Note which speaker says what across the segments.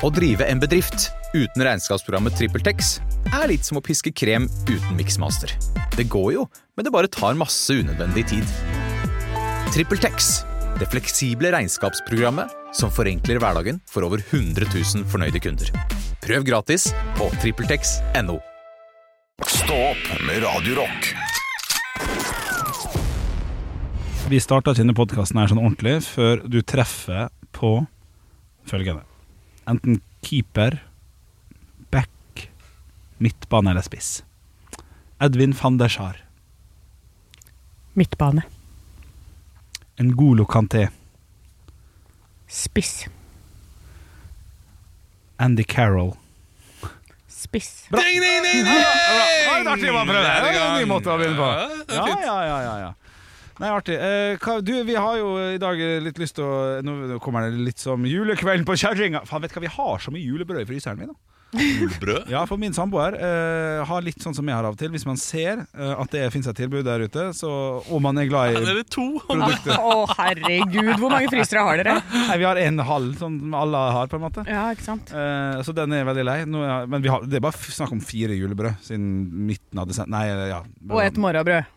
Speaker 1: Å drive en bedrift uten regnskapsprogrammet TrippelTex er litt som å piske krem uten miksmaster. Det går jo, men det bare tar masse unødvendig tid. TrippelTex det fleksible regnskapsprogrammet som forenkler hverdagen for over 100 000 fornøyde kunder. Prøv gratis på TrippelTex.no.
Speaker 2: Stå opp med Radio Rock.
Speaker 3: Vi starta ikke denne podkasten her sånn ordentlig før du treffer på følgende. Enten keeper, back, midtbane eller spiss. Edvin van der Sar.
Speaker 4: Midtbane.
Speaker 3: Ngolo Kanté.
Speaker 4: Spiss.
Speaker 3: Andy Carroll.
Speaker 4: Spiss.
Speaker 3: Det var en artig å prøve. Det var en ny måte å begynne på. Ja, ja, ja, ja, ja. Nei, artig. Eh, hva, du, vi har jo eh, i dag litt lyst til å Nå nå kommer det litt som julekvelden på kjerringa. Faen, vet du hva, vi har så mye julebrød i fryseren min. da.
Speaker 5: Julebrød?
Speaker 3: Ja, for min samboer eh, har litt sånn som jeg har av og til. Hvis man ser eh, at det fins et tilbud der ute, så, og man er glad i
Speaker 5: Dere to.
Speaker 3: produktet
Speaker 4: Å, herregud, hvor mange frysere har dere?
Speaker 3: Nei, vi har en halv, sånn som alle har, på en måte.
Speaker 4: Ja, ikke sant?
Speaker 3: Eh, så den er jeg veldig lei. Nå, er- men vi har, det er bare f- snakk om fire julebrød siden midten av desember. Nei, ja.
Speaker 4: Og et morgenbrød.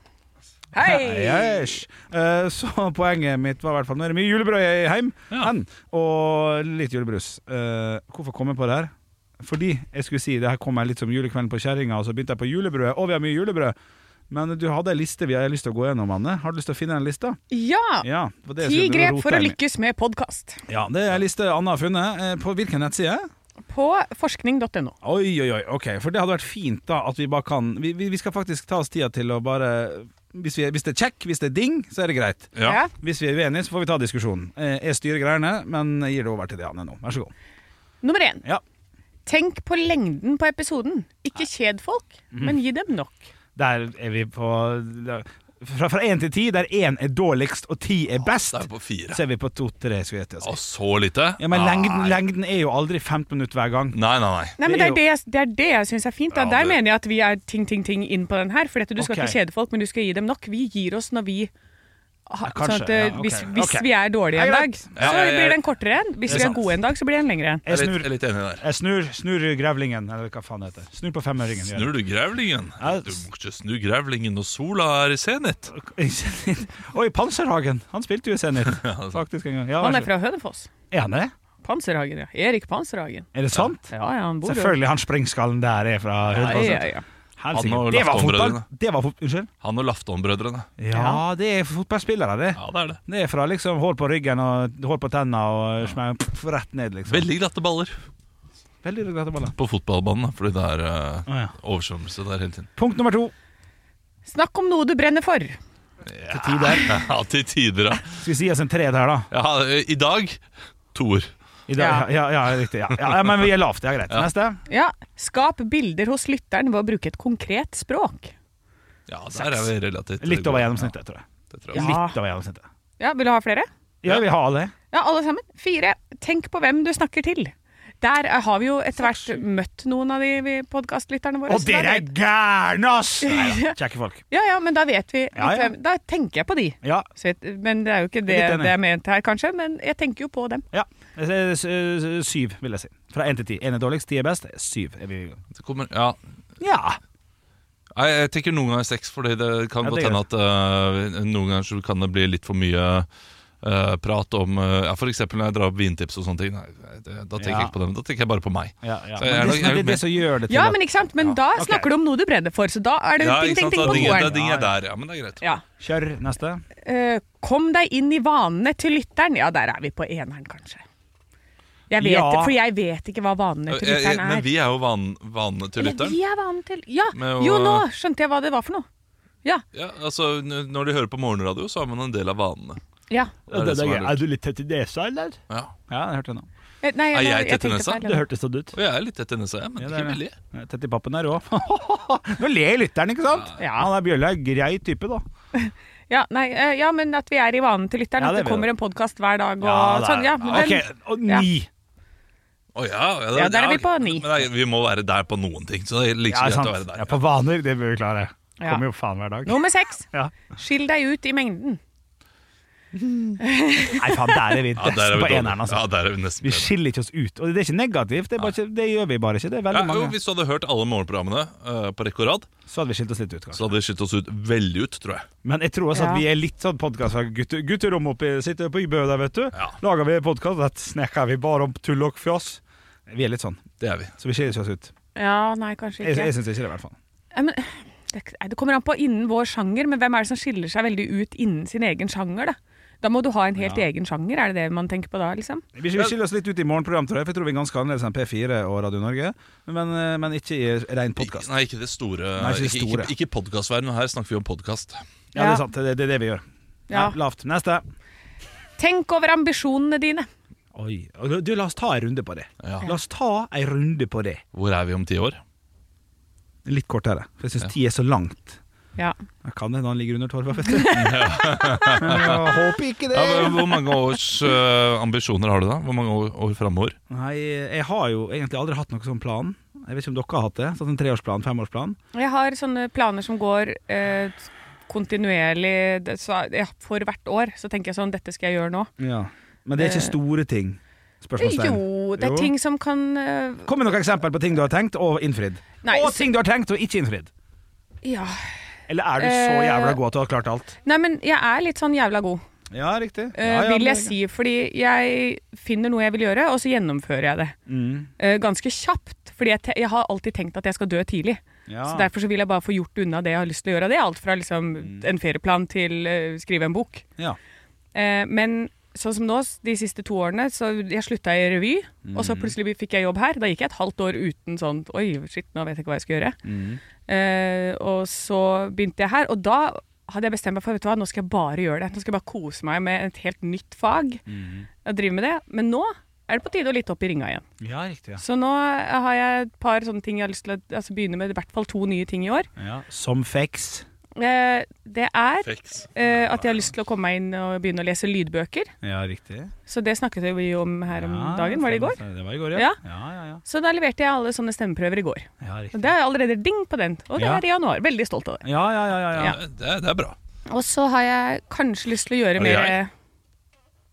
Speaker 4: Hei!
Speaker 3: Yes. Eh, Så poenget mitt var i hvert fall Nå er det mye julebrød i heim
Speaker 6: Ja.
Speaker 3: hen, Og litt julebrus Eh, Hvorfor kom jeg på det her? Fordi jeg skulle si Det her kom jeg litt som julekvelden på kjæringa Og så begynte jeg på julebrød Og vi har mye julebrød Men du hadde en liste vi har lyst til å gå gjennom, Anne Har du lyst til å finne den lista?
Speaker 4: Ja!
Speaker 3: Ja, det var det jeg
Speaker 4: Ti
Speaker 3: skulle
Speaker 4: grep
Speaker 3: rote
Speaker 4: for å
Speaker 3: her med.
Speaker 4: lykkes med podkast
Speaker 3: Ja, det er en liste Anne har funnet Eh, På hvilken nettside?
Speaker 4: på forskning.no.
Speaker 3: Oi, oi, oi, ok For det hadde vært fint da At vi bare kan Vi, vi, vi skal faktisk ta oss tida til å bare hvis, vi, hvis det er check, hvis det er ding Så er det greit
Speaker 4: Ja.
Speaker 3: Hvis vi er uenige, så får vi ta diskusjonen. Eh, Jeg styrer greiene, men jeg gir det over til deg, Anne, nå. Vær så god.
Speaker 4: Nummer én.
Speaker 3: Ja.
Speaker 4: Tenk på lengden på episoden. Ikke kjed folk, men gi dem nok.
Speaker 3: Der er vi på Fra fra én til ti, der én er dårligst og ti er best,
Speaker 5: Da er vi på fire.
Speaker 3: så er vi på to-tre, skulle jeg til å
Speaker 5: Og
Speaker 3: si.
Speaker 5: så lite?
Speaker 3: Ja, men lengden,
Speaker 5: Nei.
Speaker 3: lengden er jo aldri 15 minutter hver gang.
Speaker 5: Nei, nei, nei.
Speaker 4: Nei, men
Speaker 3: Det
Speaker 4: Det
Speaker 3: er
Speaker 4: er det, jeg- det, er det jeg syns er fint. Da.
Speaker 5: Ja,
Speaker 4: Der
Speaker 5: det-
Speaker 4: mener jeg at vi er ting, ting, ting inn på den her. For dette, du skal
Speaker 3: Ok.
Speaker 4: ikke kjede folk, men du skal gi dem nok. Vi gir oss når vi ha,
Speaker 3: kanskje.
Speaker 4: sånn at, eh,
Speaker 3: Ja, ok.
Speaker 4: Hvis, hvis
Speaker 3: Ok.
Speaker 4: vi er dårlige
Speaker 3: Ja,
Speaker 4: en
Speaker 3: greit.
Speaker 4: dag,
Speaker 5: Ja,
Speaker 4: så
Speaker 5: ja, ja.
Speaker 4: blir den kortere en.
Speaker 3: Det
Speaker 4: Hvis
Speaker 3: er
Speaker 4: vi er
Speaker 3: sant.
Speaker 4: gode en dag, så blir den lengre
Speaker 3: Jeg
Speaker 4: en.
Speaker 5: Jeg er litt,
Speaker 3: snur,
Speaker 5: jeg er litt enig der.
Speaker 3: jeg snur, snur grevlingen, eller hva faen det heter. Snur på femøringen. gjør jeg.
Speaker 5: Snur du grevlingen?
Speaker 3: Ja.
Speaker 5: Du må ikke snu grevlingen når sola er i senit.
Speaker 3: I Zenit. Oi, Panserhagen! Han spilte jo i Zenit, faktisk en gang. Ja,
Speaker 4: Han
Speaker 3: vær
Speaker 4: er
Speaker 3: så-
Speaker 4: fra Hønefoss.
Speaker 3: Er han det?
Speaker 4: Panserhagen, ja. Erik Panserhagen.
Speaker 3: Er det sant?
Speaker 4: Ja, ja, han bor jo-
Speaker 3: Selvfølgelig, han sprengskallen der er fra
Speaker 4: Ja,
Speaker 3: Hønefoss.
Speaker 4: ja, ja.
Speaker 3: Helsike.
Speaker 5: Han og
Speaker 3: Det var fotball!
Speaker 5: Lafton-brødrene.
Speaker 3: Det var fot Unnskyld?
Speaker 5: Han og Lafton-brødrene.
Speaker 3: Ja, det er fotballspillere, det.
Speaker 5: Ja, det er det.
Speaker 3: Det er fra liksom hår på ryggen og hår på tenna og smeng, pff, rett ned, liksom.
Speaker 5: Veldig glatte baller
Speaker 3: Veldig glatte baller.
Speaker 5: på fotballbanen, da, fordi det er eh,
Speaker 3: Å, ja.
Speaker 5: oversvømmelse der hele tiden.
Speaker 3: Punkt nummer to.
Speaker 4: Snakk om noe du brenner for.
Speaker 5: Til tider. Ja, til tider, ja.
Speaker 3: Skal vi si oss en tred her, da?
Speaker 5: ja eh, I dag toer.
Speaker 3: I dag, ja. Ja, ja, riktig. Ja. Ja, ja, men vi er lavt. Ja, greit. Neste.
Speaker 4: Ja, Skap bilder hos lytteren ved å bruke et konkret språk.
Speaker 5: Ja, der er vi relativt
Speaker 3: Litt over gjennomsnittet, tror jeg.
Speaker 5: Ja, det tror jeg.
Speaker 4: Ja.
Speaker 3: Litt over gjennomsnittet.
Speaker 4: Ja, Vil du ha flere?
Speaker 3: Ja, vi har det.
Speaker 4: Ja, alle sammen. Fire. Tenk på hvem du snakker til. Der eh, har vi jo etter hvert møtt noen av de podkastlytterne våre.
Speaker 3: Og
Speaker 4: så da
Speaker 3: dere er
Speaker 4: vet-
Speaker 3: gærne, ass! Neida, Kjekke folk.
Speaker 4: Ja, ja, men da vet vi litt
Speaker 3: Ja, ja.
Speaker 4: hvem Da tenker jeg på de.
Speaker 3: Ja.
Speaker 4: Så vet- Men det er jo ikke det
Speaker 3: Jeg er litt enig.
Speaker 4: det er ment her, kanskje. Men jeg tenker jo på dem.
Speaker 3: ja. Det er s- s- Syv, vil jeg si. Fra én til ti. Én er dårligst, ti er best. Syv er vi
Speaker 5: Det kommer, ja.
Speaker 3: Ja.
Speaker 5: Nei, Jeg tenker noen ganger seks, fordi det kan
Speaker 3: Ja,
Speaker 5: godt
Speaker 3: det
Speaker 5: hende at eh, noen ganger så kan det bli litt for mye eh, prat om eh, ja, For eksempel når jeg drar opp vintips og sånne ting. Nei, det, da tenker
Speaker 3: Ja.
Speaker 5: jeg ikke på dem, da tenker jeg bare på meg.
Speaker 3: ja, ja.
Speaker 5: Så jeg er
Speaker 3: Men
Speaker 5: nok-
Speaker 3: det,
Speaker 5: jeg er
Speaker 3: det er
Speaker 5: mer-
Speaker 3: det som gjør det til
Speaker 4: Ja,
Speaker 3: at-
Speaker 4: men ikke sant? Men da
Speaker 3: ok.
Speaker 4: snakker du om noe du brenner for, så da er det
Speaker 5: Ja,
Speaker 4: ting, ting,
Speaker 5: ikke sant?
Speaker 4: ting
Speaker 5: Da
Speaker 4: på
Speaker 5: ding- da
Speaker 4: toeren.
Speaker 5: dinger jeg der, ja, men det er greit.
Speaker 4: Ja.
Speaker 3: Kjør neste.
Speaker 4: Eh, kom deg inn i vanene til lytteren. Ja, der er vi på eneren, kanskje. Jeg vet,
Speaker 3: Ja.
Speaker 4: For jeg vet ikke hva vanene til
Speaker 5: Eh, eh,
Speaker 4: lytteren er.
Speaker 5: Men vi er jo van, vanene til
Speaker 4: Eller
Speaker 5: lytteren.
Speaker 4: vi er vant til Ja,
Speaker 5: Med å-
Speaker 4: jo nå skjønte jeg hva det var for noe.
Speaker 5: Ja, altså, n- når de hører på morgenradio, så har man en del av vanene.
Speaker 4: Ja.
Speaker 5: Det er det som er lurt.
Speaker 3: du litt tett i nesa, eller?
Speaker 5: Ja.
Speaker 3: Ja, jeg hørte det nå.
Speaker 4: Eh, Nei,
Speaker 5: Er
Speaker 4: nå-
Speaker 5: jeg tett i
Speaker 4: tenkte
Speaker 5: nesa?
Speaker 4: feil.
Speaker 6: Det hørtes sånn ut.
Speaker 5: Og jeg er litt tett i nesa, jeg, men
Speaker 3: Ja, det
Speaker 5: ikke
Speaker 3: er
Speaker 5: veldig.
Speaker 3: det. Ja, Tett i pappen der òg. Nå ler lytteren, ikke sant? Ja, han der Bjølle er en grei type, da.
Speaker 4: Ja, nei, eh, ja, men at vi er i vanen til lytteren.
Speaker 3: Ja,
Speaker 4: at
Speaker 3: det
Speaker 4: det
Speaker 3: vet
Speaker 4: kommer
Speaker 3: jeg.
Speaker 4: en podkast hver dag og
Speaker 3: det er-
Speaker 4: sånn. Ja, men den-
Speaker 3: ok, og ni.
Speaker 5: Å ja, ja,
Speaker 4: Ja, der er vi på ni.
Speaker 5: Men nei, vi må være der på noen ting, så det er like
Speaker 3: Ja,
Speaker 5: så greit
Speaker 3: sant.
Speaker 5: å være der.
Speaker 3: Ja, på vaner, det bør vi klare.
Speaker 4: Ja.
Speaker 3: Kommer jo faen hver dag.
Speaker 4: Nummer seks.
Speaker 3: Ja.
Speaker 4: Skill deg ut i mengden.
Speaker 3: Nei, faen, der er vi
Speaker 5: Ja,
Speaker 3: nesten
Speaker 5: der er vi
Speaker 3: på
Speaker 5: dårlige.
Speaker 3: eneren, altså.
Speaker 5: Ja, der er vi nesten
Speaker 3: Vi
Speaker 5: på eneren.
Speaker 3: skiller ikke oss ut. Og det er ikke negativt, det, er bare ikke, det gjør vi bare ikke. Det er
Speaker 5: ja,
Speaker 3: veldig
Speaker 5: jo,
Speaker 3: mange.
Speaker 5: Hvis du hadde hørt alle morgenprogrammene eh, på rekke og rad,
Speaker 3: Så hadde vi skilt oss litt ut, kanskje.
Speaker 5: så hadde det skilt oss ut veldig ut, tror jeg.
Speaker 3: Men jeg tror også
Speaker 4: Ja.
Speaker 3: at vi er litt sånn podkast fra gutte, gutterom oppi Sitter på Bø der, vet du.
Speaker 5: Ja.
Speaker 3: Lager vi podkast, der snekker vi bare om tull og fjas. Vi er litt sånn,
Speaker 5: Det er vi.
Speaker 3: så vi skiller ikke oss ut.
Speaker 4: Ja, nei, kanskje
Speaker 3: Jeg,
Speaker 4: ikke.
Speaker 3: jeg syns ikke det, i hvert fall.
Speaker 4: Ja, men, det, er ikke- nei, det kommer an på innen vår sjanger, men hvem er det som skiller seg veldig ut innen sin egen sjanger, da? Da må du ha en helt egen sjanger, er det det man tenker på da, liksom?
Speaker 3: Vi vi skiller oss litt ut i morgenprogram, tror jeg, for jeg tror vi er ganske annerledes enn P4 og Radio Norge. Men, eh, men ikke i rein podkast.
Speaker 5: Nei, ikke det store.
Speaker 3: Nei, ikke det
Speaker 5: ikke-
Speaker 3: store.
Speaker 5: Ikke, ikke podcastverdenen, her snakker vi om podkast.
Speaker 3: Ja, det er sant. Det, det er det vi gjør.
Speaker 4: Ja.
Speaker 3: Nei, Lavt. Neste.
Speaker 4: Tenk over ambisjonene dine.
Speaker 3: Oi. Og Du, la oss ta en runde på det.
Speaker 5: Ja.
Speaker 3: La oss ta en runde på det.
Speaker 5: Hvor er vi om ti år?
Speaker 3: Litt kortere, for jeg syns
Speaker 5: Ja.
Speaker 3: ti er så langt.
Speaker 4: Ja.
Speaker 3: Jeg kan hende han ligger under torva, vet du. Men jeg håper ikke det.
Speaker 5: Ja, men hvor mange års eh, ambisjoner har du, da? Hvor mange år, år framover?
Speaker 3: Nei, jeg har jo egentlig aldri hatt noen sånn plan. Jeg vet ikke om dere har hatt det? Sånn treårsplan, femårsplan?
Speaker 4: Jeg har sånne planer som går eh, kontinuerlig det- så, ja, for hvert år. Så tenker jeg sånn, dette skal jeg gjøre nå.
Speaker 3: Ja. Men det er ikke store ting? Spørsmålstegn.
Speaker 4: Eh, Jo, det er
Speaker 3: Jo.
Speaker 4: ting som kan eh,
Speaker 3: Kom med noen eksempel på ting du har tenkt og innfridd.
Speaker 4: Nei,
Speaker 3: og
Speaker 4: s-
Speaker 3: ting du har tenkt og ikke innfridd.
Speaker 4: Ja.
Speaker 3: Eller er du så
Speaker 4: Eh.
Speaker 3: jævla god at du har klart alt?
Speaker 4: Nei, men jeg er litt sånn jævla god.
Speaker 3: Ja, riktig.
Speaker 4: Eh, vil jeg si, fordi jeg finner noe jeg vil gjøre, og så gjennomfører jeg det.
Speaker 3: Mm.
Speaker 4: Eh, ganske kjapt, fordi jeg, te jeg har alltid tenkt at jeg skal dø tidlig.
Speaker 3: Ja.
Speaker 4: Så derfor så vil jeg bare få gjort unna det jeg har lyst til å gjøre. Og det er alt fra liksom, en ferieplan til eh, skrive en bok.
Speaker 3: Ja.
Speaker 4: Eh, men sånn som nå, s- de siste to årene, så jeg slutta i revy, og så plutselig fikk jeg jobb her. Da gikk jeg et halvt år uten sånn Oi, shit, nå vet jeg ikke hva jeg skal gjøre. Eh, og så begynte jeg her, og da hadde jeg bestemt meg for vet du hva, nå skal jeg bare gjøre det. Nå skal jeg bare kose meg med et helt nytt fag. Og drive med det. Men nå er det på tide å litt opp i ringa igjen.
Speaker 3: ja, riktig. Ja.
Speaker 4: Så nå eh, har jeg et par sånne ting jeg har lyst til å altså begynne med, i hvert fall to nye ting i år.
Speaker 3: Ja. Som fex.
Speaker 4: Eh, det er
Speaker 5: Feks.
Speaker 4: eh, at jeg har lyst til å komme meg inn og begynne å lese lydbøker.
Speaker 3: Ja, riktig.
Speaker 4: Så det snakket vi om her om dagen. Var det i går?
Speaker 3: Det var i går, ja.
Speaker 4: ja.
Speaker 3: Ja, ja, ja.
Speaker 4: Så da leverte jeg alle sånne stemmeprøver i går.
Speaker 3: Ja,
Speaker 4: Og
Speaker 3: riktig.
Speaker 4: det er jeg allerede ding på den. Og det
Speaker 3: Ja.
Speaker 4: er i januar. Veldig stolt av det.
Speaker 3: ja, ja, ja, ja, ja.
Speaker 5: Ja. Det, er- det er bra.
Speaker 4: Og så har jeg kanskje lyst til å gjøre
Speaker 5: Er det
Speaker 4: mer eh,
Speaker 5: jeg?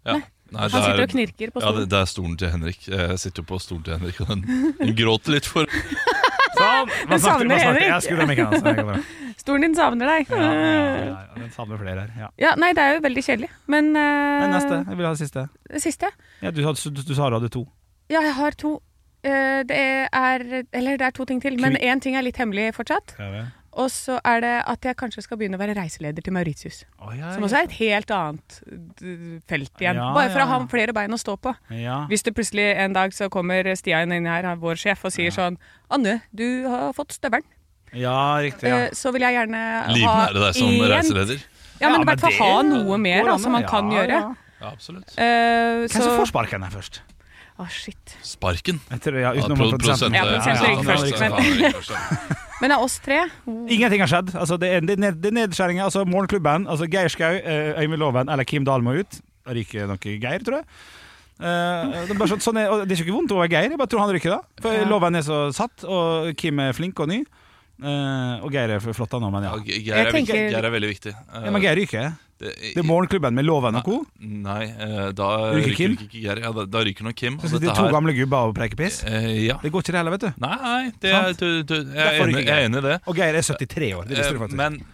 Speaker 5: Ja. Nei, det
Speaker 4: Han sitter
Speaker 5: er-
Speaker 4: og knirker på
Speaker 5: Ja, det,
Speaker 4: stolen.
Speaker 5: det er stolen til Henrik. Jeg sitter jo på stolen til Henrik, og den, den gråter litt for
Speaker 3: Sånn! Hva
Speaker 4: Den
Speaker 3: snakket- hva
Speaker 4: savner
Speaker 3: snakket-
Speaker 4: Henrik.
Speaker 3: Jeg skrudde av mikken hans. det går bra.
Speaker 4: Stolen din savner deg.
Speaker 3: Ja, ja, ja, ja. Den savner flere her. Ja.
Speaker 4: Ja, nei, det er jo veldig kjedelig. Men eh,
Speaker 3: Nei, neste. Jeg vil ha det siste.
Speaker 4: det siste.
Speaker 3: Ja, du, sa- du, du sa du hadde to.
Speaker 4: Ja, jeg har to. Eh, Det er Eller det er to ting til, men
Speaker 3: Kvi-
Speaker 4: én ting er litt hemmelig fortsatt. Og så er det at jeg kanskje skal begynne å være reiseleder til Mauritius.
Speaker 3: Å, ja,
Speaker 4: Som også er et helt annet d- felt igjen.
Speaker 3: Ja,
Speaker 4: Bare for
Speaker 3: ja,
Speaker 4: å ha
Speaker 3: ja.
Speaker 4: flere bein å stå på.
Speaker 3: ja.
Speaker 4: Hvis det plutselig en dag så kommer Stian inn her, vår sjef, og sier sånn 'Anne, du har fått støvelen',
Speaker 3: ja, riktig. Ja.
Speaker 4: Eh, så vil jeg gjerne ha
Speaker 5: Liven er det deg som
Speaker 4: én-
Speaker 5: reiseleder.
Speaker 4: Ja, men i hvert fall
Speaker 3: det
Speaker 4: ha noe mer
Speaker 3: går
Speaker 4: da,
Speaker 3: an,
Speaker 4: som man
Speaker 3: ja,
Speaker 4: kan gjøre.
Speaker 3: ja.
Speaker 5: Ja, absolutt.
Speaker 4: Eh,
Speaker 3: Hvem som
Speaker 4: så
Speaker 3: får sparken her først?
Speaker 4: Å, shit.
Speaker 5: Sparken.
Speaker 3: Jeg tror, ja,
Speaker 5: Ja,
Speaker 3: utenom
Speaker 5: pro-
Speaker 3: produsenten.
Speaker 4: Ja,
Speaker 3: ja,
Speaker 4: produsenten gikk
Speaker 3: ja,
Speaker 4: først,
Speaker 3: ja,
Speaker 4: men-
Speaker 3: ja.
Speaker 4: Men av oss tre
Speaker 3: Ingenting har skjedd. Altså, det er, det er ned- det er nedskjæringer. Altså, morgenklubben, altså Geir Skau, eh, Øyvind Loven eller Kim Dahl må ut. Da ryker nok Geir, tror jeg. Eh, det, er bare sånn, sånn er, og det er ikke vondt over Geir, jeg bare tror han ryker da. For
Speaker 4: Ja.
Speaker 3: Loven er så satt, og Kim er flink og ny. Eh, og Geir er flott han nå, men ja.
Speaker 5: Ja, Ge- Geir er,
Speaker 4: Jeg
Speaker 5: viktig.
Speaker 4: tenker-
Speaker 5: Geir er veldig viktig. Eh,
Speaker 3: ja men Geir ryker.
Speaker 5: det,
Speaker 3: Det er morgenklubben med Loven og co.
Speaker 5: Nei, eh, da
Speaker 3: Ryker
Speaker 5: ryker
Speaker 3: Kim?
Speaker 5: ikke Geir. Ja, da, da ryker nok Kim. og
Speaker 3: Så sitter
Speaker 5: dette
Speaker 3: de to
Speaker 5: her-
Speaker 3: gamle gubber og preker piss.
Speaker 5: Eh, ja.
Speaker 3: Det går ikke det heller, vet du.
Speaker 5: Nei, det er,
Speaker 3: Sant?
Speaker 5: du, du, jeg,
Speaker 3: Derfor
Speaker 5: er
Speaker 3: ryker
Speaker 5: enig, jeg
Speaker 3: Geir.
Speaker 5: er enig i det.
Speaker 3: Og Geir er 73 år. Det visste du
Speaker 5: Eh,
Speaker 3: faktisk. Men,
Speaker 5: Men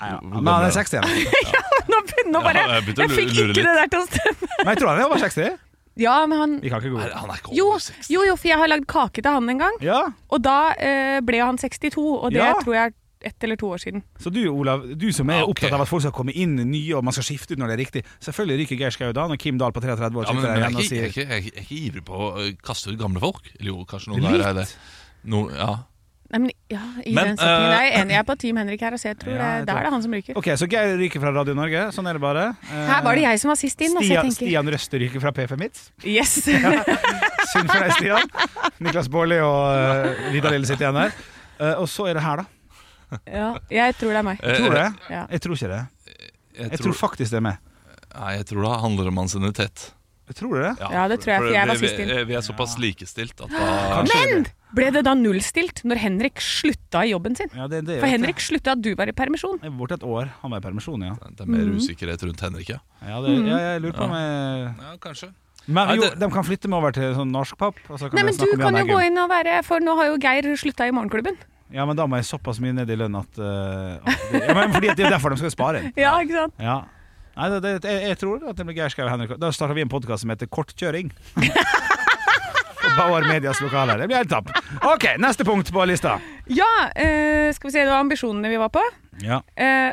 Speaker 3: ja. men han er 60 igjen.
Speaker 4: Nå, nå bare
Speaker 5: Ja, jeg
Speaker 4: Jeg,
Speaker 5: begynte å
Speaker 4: fikk
Speaker 5: lure
Speaker 4: ikke det der til å stemme.
Speaker 3: Men jeg tror han er over 60.
Speaker 4: Ja, men han
Speaker 3: Vi kan ikke gå
Speaker 5: er, han er ikke
Speaker 4: jo,
Speaker 5: over 60.
Speaker 4: jo, jo, for jeg har lagd kake til han en gang,
Speaker 3: Ja,
Speaker 4: og da eh, ble han 62, og det
Speaker 3: Ja.
Speaker 4: tror jeg er ett eller to år siden.
Speaker 3: Så du, Olav, du som er
Speaker 5: Ja, ok.
Speaker 3: opptatt av at folk skal komme inn nye, og man skal skifte ut når det er riktig. Selvfølgelig ryker Geir Skau da, når Kim Dahl på 33 år
Speaker 5: Ja,
Speaker 3: sitter
Speaker 5: men, men
Speaker 3: der
Speaker 5: jeg,
Speaker 3: igjen
Speaker 5: er
Speaker 3: og
Speaker 5: ikke,
Speaker 3: sier
Speaker 5: jeg, er eh, ikke, jeg, er ikke, jeg er ikke ivrig på å kaste ut gamle folk. Eller jo, kanskje noen
Speaker 3: Litt.
Speaker 5: der er det. No, ja.
Speaker 4: Nei, men, ja, i
Speaker 5: Men,
Speaker 4: den setningen
Speaker 5: eh,
Speaker 4: er jeg enig. Jeg er på Team Henrik her, så jeg tror
Speaker 3: Ja,
Speaker 4: det,
Speaker 3: jeg
Speaker 4: der
Speaker 3: tror-
Speaker 4: er det han som ryker.
Speaker 3: Ok, Så Geir ryker fra Radio Norge. Sånn er det bare. Eh,
Speaker 4: Her var det jeg som var sist inn, altså, jeg
Speaker 3: Stian,
Speaker 4: tenker.
Speaker 3: Stian Røste ryker fra P5 Midt.
Speaker 4: Yes!
Speaker 3: Synd for deg, Stian. Niklas Baarli og eh, Vidar Lille sitter igjen her. Eh, og så er det her, da.
Speaker 4: ja, jeg tror det er meg.
Speaker 3: Tror du det?
Speaker 4: Ja.
Speaker 3: Jeg tror ikke det.
Speaker 5: Eh, Jeg,
Speaker 3: Jeg
Speaker 5: tror,
Speaker 3: tror faktisk det er meg.
Speaker 5: nei, jeg tror det handler om ansiennitet.
Speaker 3: Tror du det?
Speaker 4: Ja, det tror jeg, for jeg var
Speaker 5: vi- eh,
Speaker 4: sist inn.
Speaker 5: Vi, vi er såpass likestilt at da
Speaker 4: Men ble det da nullstilt når Henrik slutta i jobben sin?
Speaker 3: Ja, det, det er
Speaker 4: For
Speaker 3: jo-
Speaker 4: Henrik slutta at du var i permisjon.
Speaker 3: Jeg er borte et år. Han var i permisjon, ja.
Speaker 5: Det er
Speaker 4: Mm.
Speaker 5: mer usikkerhet rundt Henrik, ja.
Speaker 3: Ja, det, ja jeg lurer på om jeg
Speaker 5: ja kanskje.
Speaker 3: Men
Speaker 5: Nei,
Speaker 3: jo,
Speaker 5: det-
Speaker 3: de kan flytte meg over til sånn norsk pop. Og så kan
Speaker 4: Nei,
Speaker 3: jeg
Speaker 4: men du
Speaker 3: snakke om
Speaker 4: kan
Speaker 3: Jan
Speaker 4: jo gå
Speaker 3: Eggum.
Speaker 4: inn og være For nå har jo Geir slutta i Morgenklubben.
Speaker 3: Ja, men da må jeg såpass mye ned i lønn at, eh, at det, ja, men fordi at Det er derfor de skal spare inn.
Speaker 4: Ja, ikke sant?
Speaker 3: Ja. Nei, det, det, jeg, jeg tror at det blir Geir Skau og Henrik Da starter vi en podkast som heter Kortkjøring. På Bauer Medias lokaler. Det blir helt tapp. OK, neste punkt på lista.
Speaker 4: Ja, eh, skal vi se, det var ambisjonene vi var på.
Speaker 3: Ja,
Speaker 4: Eh,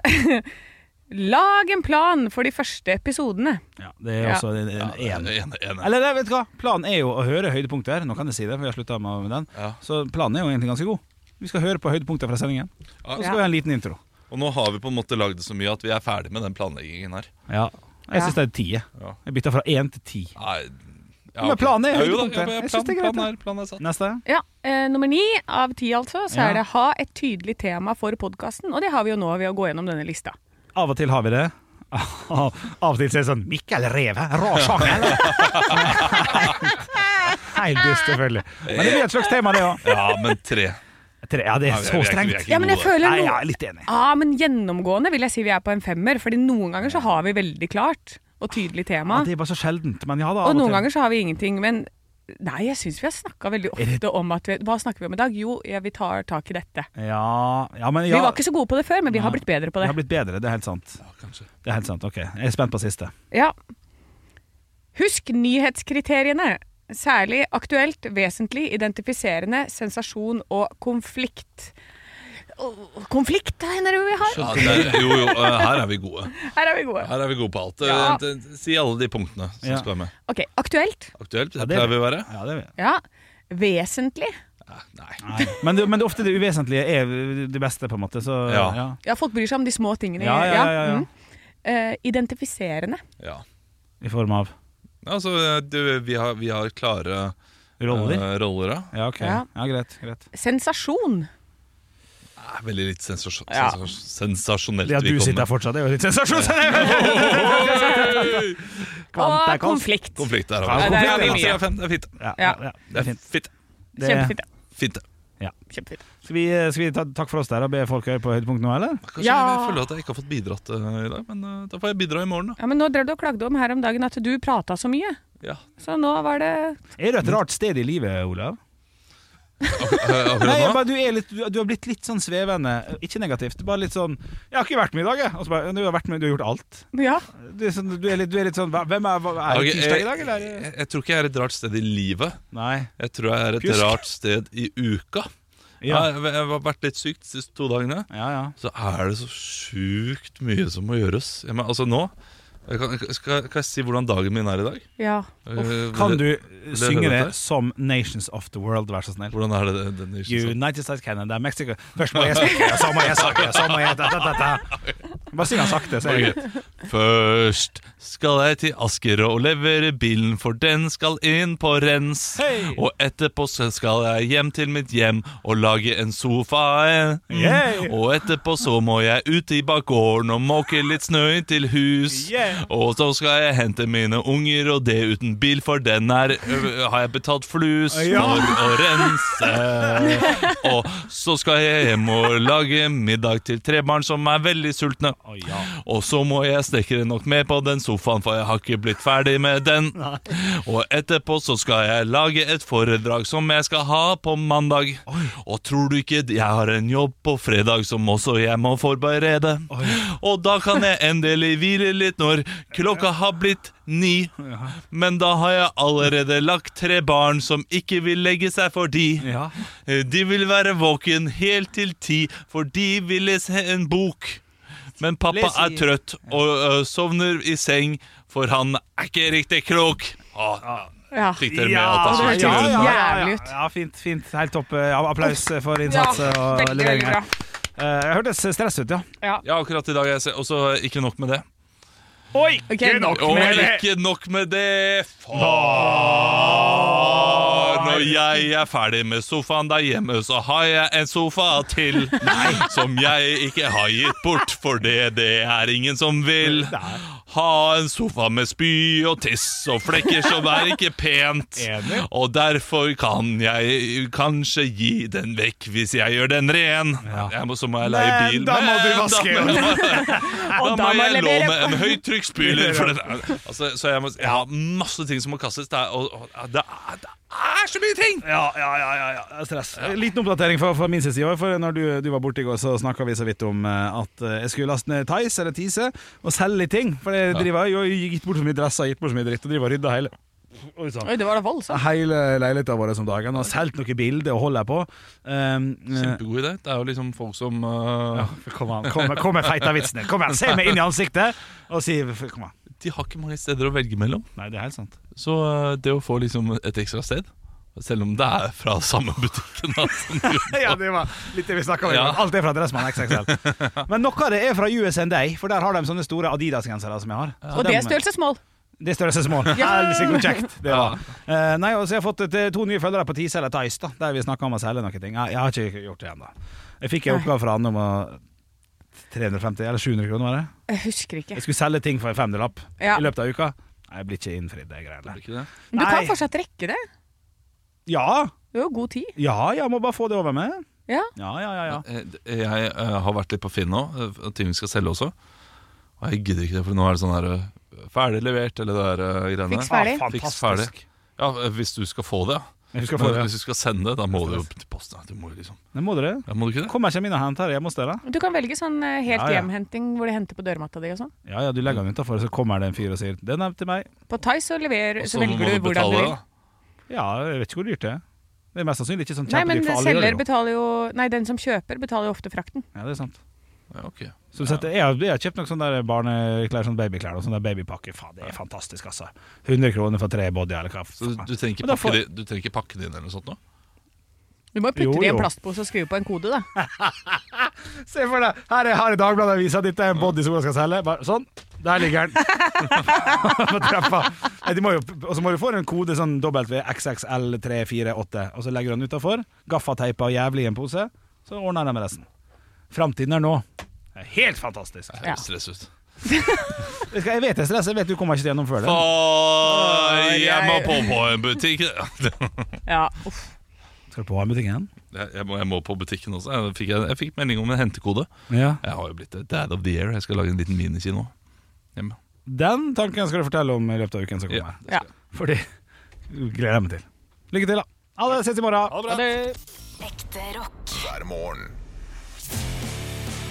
Speaker 4: lag en plan for de første episodene.
Speaker 3: ja det er
Speaker 4: Ja.
Speaker 3: også en en
Speaker 5: Ja,
Speaker 3: en.
Speaker 5: en, en,
Speaker 3: Eller nei, vet du hva? planen er jo å høre høydepunkter. Nå kan jeg si det, for vi har slutta med den.
Speaker 5: Ja.
Speaker 3: Så planen er jo egentlig ganske god. Vi skal høre på høydepunkter fra sendingen. Og så skal
Speaker 4: Ja.
Speaker 3: vi ha en liten intro.
Speaker 5: Og nå har vi på en måte lagd det så mye at vi er ferdig med den planleggingen her.
Speaker 3: Ja. Jeg syns det er ti. jeg.
Speaker 5: Ja.
Speaker 3: Jeg bytter fra én til ti.
Speaker 5: Nei, ja,
Speaker 3: Men
Speaker 5: ok.
Speaker 3: planen er
Speaker 5: Ja, jo da,
Speaker 3: høydepunktet.
Speaker 5: ja, men
Speaker 3: Jeg synes
Speaker 5: plan,
Speaker 3: det er greit,
Speaker 5: planen er, planen er satt.
Speaker 3: Neste.
Speaker 4: Ja, eh, Nummer ni av ti, altså, så
Speaker 3: Ja.
Speaker 4: er det ha et tydelig tema for podkasten. Og det har vi jo nå ved å gå gjennom denne lista.
Speaker 3: Av og til har vi det. Av og til så er det sånn Mikkel Reve, rar sjanger! eller?» Helt dust, selvfølgelig. Men det blir et slags tema, det òg.
Speaker 5: Ja, men tre.
Speaker 3: Ja, det
Speaker 5: Ja,
Speaker 3: er
Speaker 5: vi er-
Speaker 3: så
Speaker 5: vi er ikke- vi er
Speaker 3: strengt.
Speaker 5: ikke
Speaker 4: Ja, men jeg
Speaker 5: gode.
Speaker 4: føler
Speaker 3: Nei,
Speaker 4: noe
Speaker 3: jeg er litt enig.
Speaker 4: Ja, men gjennomgående vil jeg si vi er på en femmer, fordi noen ganger så har vi veldig klart og tydelig tema,
Speaker 3: Ja, det er bare så sjeldent. Men ja da.
Speaker 4: og
Speaker 3: av
Speaker 4: noen
Speaker 3: til.
Speaker 4: ganger så har vi ingenting, men Nei, jeg syns vi har snakka veldig ofte om at vi, Hva snakker vi om i dag? Jo, ja, vi tar tak i dette.
Speaker 3: Ja, ja, men ja.
Speaker 4: Vi var ikke så gode på det før, men vi har blitt bedre
Speaker 3: Jeg
Speaker 4: på det.
Speaker 3: har blitt bedre, det er helt sant.
Speaker 5: Ja, kanskje.
Speaker 3: Det er helt sant, ok Jeg er spent på siste.
Speaker 4: Ja. Husk nyhetskriteriene. Særlig aktuelt, vesentlig, identifiserende, sensasjon og konflikt. Åh, Konflikt, det er det vi har.
Speaker 5: Ja, det er- jo, jo, eh, her er vi gode.
Speaker 4: Her er vi gode.
Speaker 5: Her er vi gode på alt.
Speaker 4: Ja.
Speaker 5: Eh, d- Si alle de punktene som
Speaker 3: Ja.
Speaker 5: skal være med.
Speaker 4: Ok, aktuelt.
Speaker 5: Aktuelt, det
Speaker 3: det er
Speaker 5: pleier vi å være.
Speaker 3: Ja, det er vi.
Speaker 4: Ja. Vesentlig.
Speaker 5: Ja, Nei.
Speaker 3: Nei. Men, det, men det, er ofte det uvesentlige er det beste, på en måte. Så ja.
Speaker 5: Ja.
Speaker 3: ja.
Speaker 4: Ja, folk bryr seg om de små tingene.
Speaker 3: Ja, ja, ja, ja, ja.
Speaker 4: Mm. Eh, identifiserende.
Speaker 5: Ja.
Speaker 3: I form av
Speaker 5: Altså, eh, du, vi, har, vi har klare
Speaker 3: roller.
Speaker 5: eh, roller da.
Speaker 3: Ja, ok.
Speaker 4: Ja.
Speaker 3: Ja, greit. greit.
Speaker 4: Sensasjon.
Speaker 5: Nei, Veldig litt sensasjon,
Speaker 4: Ja.
Speaker 5: sensasjon, sensasjonelt.
Speaker 3: Det at
Speaker 5: vi
Speaker 3: du
Speaker 5: kommer
Speaker 3: sitter
Speaker 5: med.
Speaker 3: her fortsatt, det er jo litt sensasjonelt!
Speaker 4: Og
Speaker 3: Kvante-
Speaker 4: konflikt.
Speaker 5: Konflikt der
Speaker 3: Ja,
Speaker 5: har vi.
Speaker 4: der har vi
Speaker 5: Det
Speaker 4: mye.
Speaker 5: er fint. Det er fint.
Speaker 3: Ja, ja.
Speaker 4: Ja.
Speaker 3: ja, det
Speaker 5: Det
Speaker 3: er
Speaker 5: er
Speaker 3: fint.
Speaker 5: fint.
Speaker 3: Det-
Speaker 4: Kjempefint.
Speaker 5: fint. det.
Speaker 4: Kjempefint.
Speaker 3: Skal vi, skal vi ta takk for oss der og be folk høre på høydepunkt nå, eller?
Speaker 5: Kanskje
Speaker 4: Ja.
Speaker 5: jeg føler at jeg ikke har fått bidratt eh, i dag, men eh, da får jeg bidra i morgen, da.
Speaker 4: Ja, men nå drev du og klagde om her om dagen at du prata så mye.
Speaker 5: Ja.
Speaker 4: Så nå var det
Speaker 3: Er du et rart sted i livet, Olav?
Speaker 5: Eh,
Speaker 3: Nei, jeg
Speaker 5: Akkurat nå?
Speaker 3: bare, du, er litt, du, du har blitt litt sånn svevende. Ikke negativt, bare litt sånn 'Jeg har ikke vært med i dag, jeg.' Og så bare 'Du har vært med, du har gjort alt'.
Speaker 4: Ja.
Speaker 3: Du er, sånn, du er, litt, du er litt sånn hva- Hvem er, hva- er
Speaker 5: Ok, eh,
Speaker 3: det tirsdag i dag,
Speaker 5: jeg,
Speaker 3: eller? er det-
Speaker 5: jeg, jeg tror ikke jeg er et rart sted i livet.
Speaker 3: Nei.
Speaker 5: Jeg tror jeg er et
Speaker 3: Pjusk.
Speaker 5: rart sted i uka.
Speaker 3: Ja,
Speaker 5: Jeg, jeg har vært litt syk de siste to dagene.
Speaker 3: ja. ja.
Speaker 5: Så er det så sjukt mye som må gjøres. Jeg, men, altså nå jeg kan, skal, kan jeg si hvordan dagen min er i dag?
Speaker 4: ja.
Speaker 5: Eh,
Speaker 3: Kan du synge
Speaker 5: dette?
Speaker 3: det som Nations of the World, vær så snill?
Speaker 5: Hvordan er det den
Speaker 3: United States Canada, Mexico Først må jeg snakke, og så må jeg snakke, og så må jeg da, da, da, da. Bare syng den sakte, så er det greit.
Speaker 5: Først skal jeg til Asker og levere bilen, for den skal inn på rens.
Speaker 3: Hei!
Speaker 5: Og etterpå så skal jeg hjem til mitt hjem og lage en sofa. Mm.
Speaker 3: Yeah!
Speaker 5: Og etterpå så må jeg ut i bakgården og måke litt snø inn til hus.
Speaker 3: Yeah!
Speaker 5: Og så skal jeg hente mine unger, og det uten bil, for den er ø, ø, har jeg betalt flus
Speaker 3: Ja!
Speaker 5: for å rense. Og så skal jeg hjem og lage middag til tre barn som er veldig sultne.
Speaker 3: Å, ja.
Speaker 5: Og så må jeg snekre nok med på den sofaen, for jeg har ikke blitt ferdig med den. Og etterpå så skal jeg lage et foredrag som jeg skal ha på mandag. Og tror du ikke jeg har en jobb på fredag som også jeg må forberede? Og da kan jeg endelig hvile litt når klokka har blitt ni. Men da har jeg allerede lagt tre barn som ikke vil legge seg for de.
Speaker 3: Ja.
Speaker 5: Eh, De vil være våken helt til ti, for de vil lese en bok. Men pappa
Speaker 3: Les i-
Speaker 5: er eh, trøtt og ø, sovner i seng, for han er ikke riktig klok. Å,
Speaker 4: Ja.
Speaker 5: Fikk dere med
Speaker 3: Ja,
Speaker 5: at
Speaker 4: det
Speaker 5: jeg
Speaker 4: hørtes
Speaker 5: skulle
Speaker 4: helt
Speaker 5: til
Speaker 3: ja,
Speaker 5: det?
Speaker 3: ja,
Speaker 4: jævlig
Speaker 3: ja,
Speaker 4: ut.
Speaker 3: ja, fint. fint Helt topp. Ja, applaus for
Speaker 4: Ja,
Speaker 3: innsats og
Speaker 4: veldig,
Speaker 3: levering
Speaker 4: veldig
Speaker 3: her.
Speaker 4: bra.
Speaker 3: Eh, Jeg hørtes stress ut, ja.
Speaker 5: Ja, akkurat i dag. Jeg ser. Også ikke nok med det.
Speaker 3: Oi!
Speaker 4: Ok, ikke nok
Speaker 5: Og
Speaker 3: med det.
Speaker 5: ikke nok med det Faen! Når jeg er ferdig med sofaen der hjemme, så har jeg en sofa til. Som jeg ikke har gitt bort, for det, det er ingen som vil. Ha en sofa med spy og tiss og flekker som er ikke pent.
Speaker 3: Enig.
Speaker 5: Og derfor kan jeg kanskje gi den vekk hvis jeg gjør den ren. Jeg må, så må jeg leie
Speaker 3: Men
Speaker 5: bil.
Speaker 3: da må
Speaker 5: Men
Speaker 3: du vaske.
Speaker 5: da må-
Speaker 4: Og
Speaker 5: da
Speaker 4: da
Speaker 5: må
Speaker 4: må
Speaker 5: jeg
Speaker 4: levere
Speaker 5: låne en høytrykksspyler. for det er- Altså, så jeg, må, jeg har masse ting som må kastes. Det er, og, og, det er, det er så mye ting!
Speaker 3: Ja, ja, ja, ja, ja. Stress. Eh, Liten oppdatering fra, fra min side. i år, For når du, du var borte i går, så snakka vi så vidt om eh, at eh, jeg skulle laste ned Tice eller Tise og selge litt ting. For jeg driver jo gitt bort så mye dresser, gitt bort så mye dritt, og driver og rydder hele Oi, sånn. sann.
Speaker 4: Oi, det var da voldsomt.
Speaker 3: Hele leiligheten vår om dagen. Og solgt noen bilder og holder på. Um, eh,
Speaker 5: Kjempegod idé. Det er jo liksom folk som uh,
Speaker 3: Kom an, kom, med- kom med feita vitsene. Kom an, Se meg inn i ansiktet og si Kom an.
Speaker 5: De har ikke mange steder å velge mellom.
Speaker 3: Nei, det er helt sant.
Speaker 5: Så uh, det å få liksom et ekstra sted, selv om det er fra samme butikken da, som du-
Speaker 3: Ja, det var litt det vi snakka om. i
Speaker 5: Ja.
Speaker 3: går. Alt er fra Dressmann XXL. Men noe av det er fra US and Day, for der har de sånne store Adidas-gensere som jeg har. Så
Speaker 4: Og det
Speaker 3: dem-
Speaker 4: er størrelsesmål.
Speaker 3: Det er størrelsesmål.
Speaker 4: Ja.
Speaker 3: Helsike, hvor kjekt det var. Eh, nei, og så har jeg fått et, eh, to nye følgere på Tise eller Tice, da, der vi snakka om å selge noen ting. Jeg, jeg har ikke gjort det ennå. Jeg fikk en
Speaker 4: Nei.
Speaker 3: oppgave fra Anne om å 350 eller 700 kroner, var det?
Speaker 4: Jeg husker ikke.
Speaker 3: Jeg skulle selge ting for en femdelapp
Speaker 4: Ja.
Speaker 3: i løpet av uka. Nei, Jeg blir ikke innfridd, de greiene der.
Speaker 4: Men du
Speaker 3: Nei.
Speaker 4: kan fortsatt rekke det.
Speaker 3: Ja,
Speaker 4: Du har jo god tid.
Speaker 3: ja, jeg må bare få det over med.
Speaker 4: Ja.
Speaker 3: Ja, ja, ja. ja.
Speaker 5: Eh, Jeg eh, har vært litt på Finn nå, eh, ting vi skal selge også. Og jeg gidder ikke det, for nå er det sånn her eh, ferdig levert, eller det der eh, greiene.
Speaker 4: Fiks ferdig.
Speaker 3: Ah,
Speaker 5: Fiks
Speaker 3: fantastisk.
Speaker 5: Ja, eh, hvis du skal få det, ja.
Speaker 3: Jeg skal få
Speaker 5: Men
Speaker 3: det.
Speaker 5: Hvis du skal sende det, da må du jo til posten. ja. Du må jo liksom
Speaker 3: Det må dere.
Speaker 5: Ja, må du ikke det?
Speaker 3: Kommer ikke min og henter det hjemme hos dere?
Speaker 4: Du kan velge sånn eh, helt
Speaker 3: Ja, ja.
Speaker 4: hjemhenting hvor de henter på dørmatta di og sånn.
Speaker 3: Ja, ja, du legger den utafor, så kommer det en fyr og sier 'den er til meg'.
Speaker 4: På Thais så, lever,
Speaker 5: Og
Speaker 4: så velger du hvordan du
Speaker 5: betale,
Speaker 4: vil.
Speaker 5: da.
Speaker 3: Ja, jeg vet ikke hvor dyrt det er. Det er mest sannsynlig ikke sånn
Speaker 4: Nei, men
Speaker 3: kjempedyrt, for alle gjør
Speaker 4: selger
Speaker 3: det jo.
Speaker 4: betaler jo Nei, den som kjøper, betaler jo ofte frakten.
Speaker 3: Ja, det er sant.
Speaker 5: Ja, ok.
Speaker 3: Så du setter, jeg, har- jeg har kjøpt noen sånne der barneklær, sånne babyklær og sånne der babypakke. Faen, det er fantastisk, altså. 100 kroner for tre body eller hva.
Speaker 5: Så du,
Speaker 3: faen.
Speaker 5: du trenger ikke
Speaker 3: Men da
Speaker 5: pakke,
Speaker 3: får-
Speaker 5: det- du trenger ikke pakke det inn eller noe sånt nå?
Speaker 4: Du må jo putte
Speaker 3: Jo,
Speaker 4: det i
Speaker 3: jo.
Speaker 4: en plastpose og skrive på en kode, da.
Speaker 3: Se for deg, her er, her er Dagbladet-avisa, dette er en body som hun skal selge. Bare, sånn, der ligger den. På trappa. Nei, de må jo, og så må du få en kode sånn WXXL348, og så legger du den utafor. Gaffateipa og jævlig i en pose, så ordner de med resten. Framtiden er nå. Det er Helt fantastisk.
Speaker 5: Det
Speaker 4: Ja.
Speaker 5: høres stress ut.
Speaker 3: Jeg skal- jeg vet jeg stresser, jeg vet du kommer ikke til å gjennomføre det.
Speaker 5: Åh,
Speaker 4: Åh,
Speaker 5: jeg
Speaker 4: jeg-
Speaker 5: må på, på en butikk!
Speaker 4: Ja, uff.
Speaker 3: Skal du på butikken?
Speaker 5: Jeg, jeg, må, jeg må på butikken også. Jeg fikk, jeg, fikk melding om en hentekode.
Speaker 3: Ja.
Speaker 5: Jeg har jo blitt det. Dad of the year. Jeg skal lage en liten minikino hjemme.
Speaker 3: Den tanken skal du fortelle om i løpet av uken som
Speaker 5: Ja,
Speaker 3: kommer.
Speaker 4: Ja.
Speaker 3: Fordi gleder jeg meg til. Lykke til, da. Ha det, ses i morgen.
Speaker 4: Ja, det-
Speaker 7: Ekte rock.
Speaker 2: hver morgen.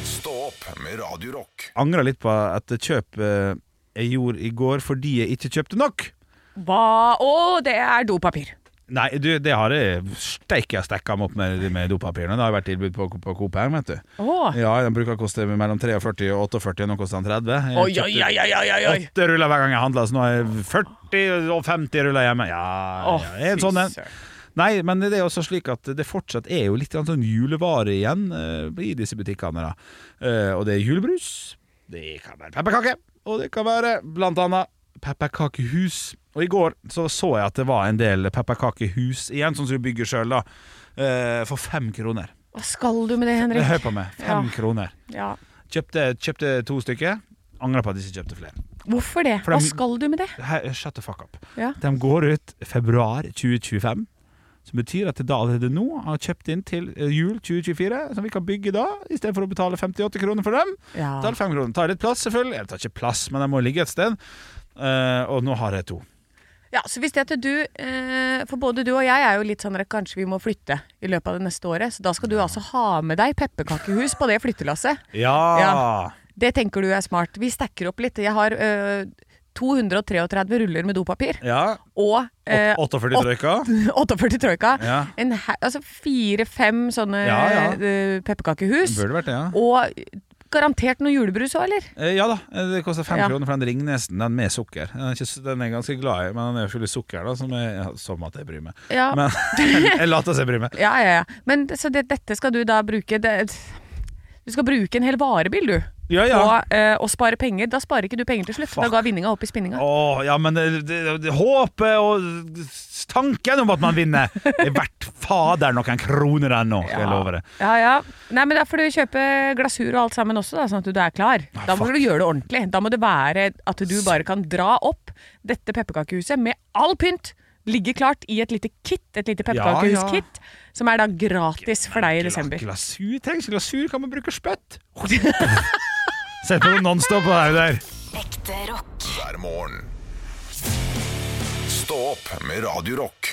Speaker 2: Stå opp med Radio Rock.
Speaker 3: angrer litt på et kjøp eh, jeg gjorde i går fordi jeg ikke kjøpte nok.
Speaker 4: Hva Å, det er dopapir.
Speaker 3: Nei, du, det har jeg steike jeg stekka meg opp med, med dopapirene. Det har vært tilbud på, på Coop her, vet du.
Speaker 4: Å.
Speaker 3: Ja, den bruker å koste mellom 43 og 48, nå koster den 30. Jeg
Speaker 4: Oi,
Speaker 3: kjøpte
Speaker 4: oi, oi, oi, oi, oi.
Speaker 3: Åtte ruller hver gang jeg handler, så nå har jeg 40 og 50 ruller hjemme. Ja,
Speaker 4: Å,
Speaker 3: ja, det er en
Speaker 4: fy
Speaker 3: sånn en.
Speaker 4: søren.
Speaker 3: Nei, men det er også slik at det fortsatt er jo litt grann sånn julevare igjen eh, i disse butikkene. da. Eh, og det er julebrus, det kan være pepperkake, og det kan være blant annet pepperkakehus. Og i går så, så jeg at det var en del pepperkakehus igjen, sånn som du bygger sjøl, da. eh, for fem kroner.
Speaker 4: Hva skal du med det, Henrik?
Speaker 3: Hør på meg, fem
Speaker 4: Ja.
Speaker 3: kroner.
Speaker 4: Ja.
Speaker 3: Kjøpte, kjøpte to stykker. Angrer på at jeg ikke kjøpte flere.
Speaker 4: Hvorfor det?
Speaker 3: For dem-
Speaker 4: Hva skal du med det?
Speaker 3: Her, shut the fuck up.
Speaker 4: Ja.
Speaker 3: De går ut februar 2025. Som betyr at jeg da allerede nå har kjøpt inn til eh, jul 2024, som vi kan bygge da, istedenfor å betale 58 kroner for dem.
Speaker 4: Ja.
Speaker 3: Tar fem kroner. Tar litt plass, selvfølgelig. Jeg tar ikke plass, men de må ligge et sted. Eh, og nå har jeg to.
Speaker 4: Ja, så hvis det at du, eh, for både du og jeg er jo litt sånn at kanskje vi må flytte i løpet av det neste året, så da skal du altså ha med deg pepperkakehus på det flyttelasset.
Speaker 3: Ja!
Speaker 4: Ja. Det tenker du er smart. Vi stacker opp litt. Jeg har eh, 233 ruller med dopapir
Speaker 3: ja.
Speaker 4: og eh,
Speaker 3: 48 trøyka.
Speaker 4: 48 troika.
Speaker 3: Ja.
Speaker 4: En hau- Altså fire-fem sånne
Speaker 3: Ja, ja.
Speaker 4: eh, pepperkakehus.
Speaker 3: Burde vært det, ja.
Speaker 4: Og garantert noe julebrus òg, eller?
Speaker 3: Eh, ja da, eh, det koster fem
Speaker 4: Ja.
Speaker 3: kroner for den Ringnesen. Den med sukker. Den er, ikke, s- den er jeg ganske glad i, men den er jo full av sukker, da, som, er, ja, som at jeg bryr meg.
Speaker 4: Ja,
Speaker 3: Men jeg later som jeg bryr meg.
Speaker 4: ja, ja. ja. Men så det, dette skal du da bruke det, Du skal bruke en hel varebil, du.
Speaker 3: Ja, ja.
Speaker 4: Og, eh, og spare penger. Da sparer ikke du penger til slutt. Da
Speaker 3: Fuck.
Speaker 4: ga vinninga opp i spinninga.
Speaker 3: Åh, ja, men det, det, det, håpet og tanken om at man vinner er verdt fader noen kroner ennå, skal jeg love deg.
Speaker 4: Ja, ja. Nei, men Da får du kjøpe glasur og alt sammen også, da, sånn at du er klar. Da må
Speaker 3: fuck.
Speaker 4: du gjøre det ordentlig. Da må det være at du bare kan dra opp dette pepperkakehuset med all pynt. Ligge klart i et lite kit, et lite pepperkakehuskit, som er da gratis for deg i desember.
Speaker 3: Glasur trengs. Glasur kan man bruke spytt. Sett på noe nonstop på det der.
Speaker 7: Ekte rock.
Speaker 2: hver morgen. Stå opp med Radio Rock.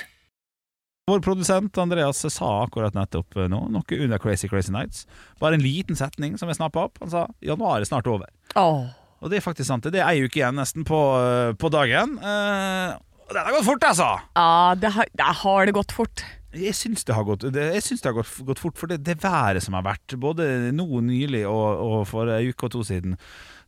Speaker 3: Vår produsent Andreas sa akkurat nettopp eh, nå noe under Crazy Crazy Nights. Bare en liten setning som jeg snappa opp. Han sa januar er snart over.
Speaker 4: Åh.
Speaker 3: Og det er faktisk sant. Det er ei uke igjen nesten på, på dagen. Eh, og den har gått fort, altså!
Speaker 4: Ja, det har, det har det gått fort.
Speaker 3: Jeg syns det har gått, det, jeg syns det har gått, gått fort, for det, det været som har vært, både nå nylig og, og for ei uke og to siden,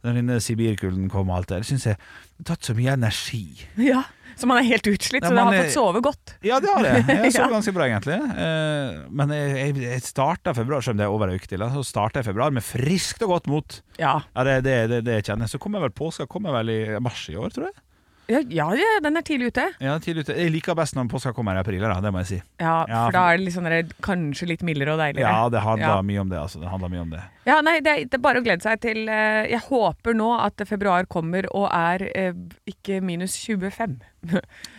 Speaker 3: da denne sibirkulden kom og alt det der, syns jeg det har tatt så mye energi.
Speaker 4: Ja. Så man er helt utslitt,
Speaker 3: Ja,
Speaker 4: så det
Speaker 3: man eh,
Speaker 4: har
Speaker 3: er-
Speaker 4: fått sove godt.
Speaker 3: Ja, det har jeg. Jeg
Speaker 4: Ja.
Speaker 3: sover ganske bra, egentlig. Eh, Men jeg, jeg, jeg starta februar, selv om det er over ei uke til, altså, så starta jeg februar med friskt og godt mot.
Speaker 4: Ja.
Speaker 3: Ja, det, det, det, det kjenner jeg. Så kommer vel påska kommer vel i mars i år, tror jeg.
Speaker 4: Ja, ja, ja, den er tidlig ute.
Speaker 3: Ja, tidlig ute. Jeg liker best når påska kommer i april, da, det må jeg si.
Speaker 4: Ja,
Speaker 3: Ja,
Speaker 4: for da er det litt sånn der, kanskje litt mildere og deiligere.
Speaker 3: Ja, det handler
Speaker 4: Ja.
Speaker 3: mye om det, altså. Det handler mye om det.
Speaker 4: Ja, nei, det, er- det er bare å glede seg til eh, Jeg håper nå at februar kommer og er eh, ikke minus 25.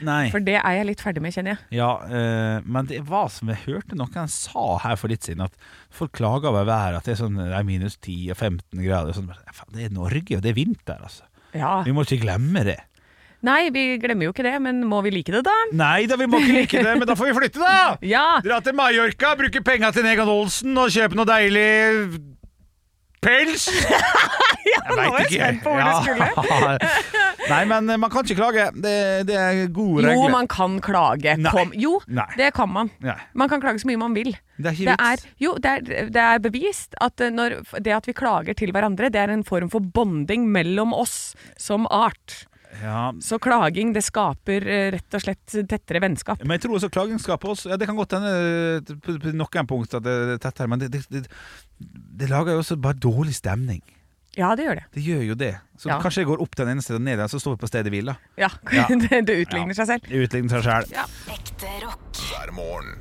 Speaker 3: Nei.
Speaker 4: For det er jeg litt ferdig med, kjenner jeg.
Speaker 3: Ja, eh, men det var som jeg hørte noen sa her for litt siden, at folk klager over været, at det er sånn det er minus 10 og 15 grader. Sånn, men faen, det er Norge, og det er vinter, altså.
Speaker 4: Ja.
Speaker 3: Vi må ikke glemme det.
Speaker 4: Nei, vi glemmer jo ikke det, men må vi like det, da?
Speaker 3: Nei da, vi må ikke like det, men da får vi flytte, da!
Speaker 4: Ja!
Speaker 3: Dra til Mallorca, bruke penga til Negan Olsen og kjøpe noe deilig pels!
Speaker 4: nå var jeg spent på hvor det
Speaker 3: skulle. Nei, men eh, man kan ikke klage. Det, det er gode regler.
Speaker 4: Jo, man kan klage.
Speaker 3: Nei.
Speaker 4: Kom. Jo,
Speaker 3: Nei.
Speaker 4: det kan man.
Speaker 3: Nei,
Speaker 4: Man kan klage så mye man vil.
Speaker 3: det er
Speaker 4: Det
Speaker 3: ikke
Speaker 4: er,
Speaker 3: vits.
Speaker 4: jo, det er, det er bevist at eh, når, det at vi klager til hverandre, det er en form for bonding mellom oss som art.
Speaker 3: Ja,
Speaker 4: Så klaging, det skaper eh, rett og slett tettere vennskap.
Speaker 3: Men jeg tror også klaging skaper oss ja, Det kan godt hende eh, på på noen punkt at det er tett her, men det, det, det, det lager jo også bare dårlig stemning.
Speaker 4: Ja, det gjør det.
Speaker 3: Det gjør jo det. Så
Speaker 4: Ja.
Speaker 3: kanskje jeg går opp den ene stedet og ned igjen, så står vi på stedet hvil, da.
Speaker 4: Ja,
Speaker 3: Ja.
Speaker 4: det, det utligner seg selv.
Speaker 3: Utligner seg sjæl.
Speaker 7: Ekte rock.
Speaker 2: hver morgen.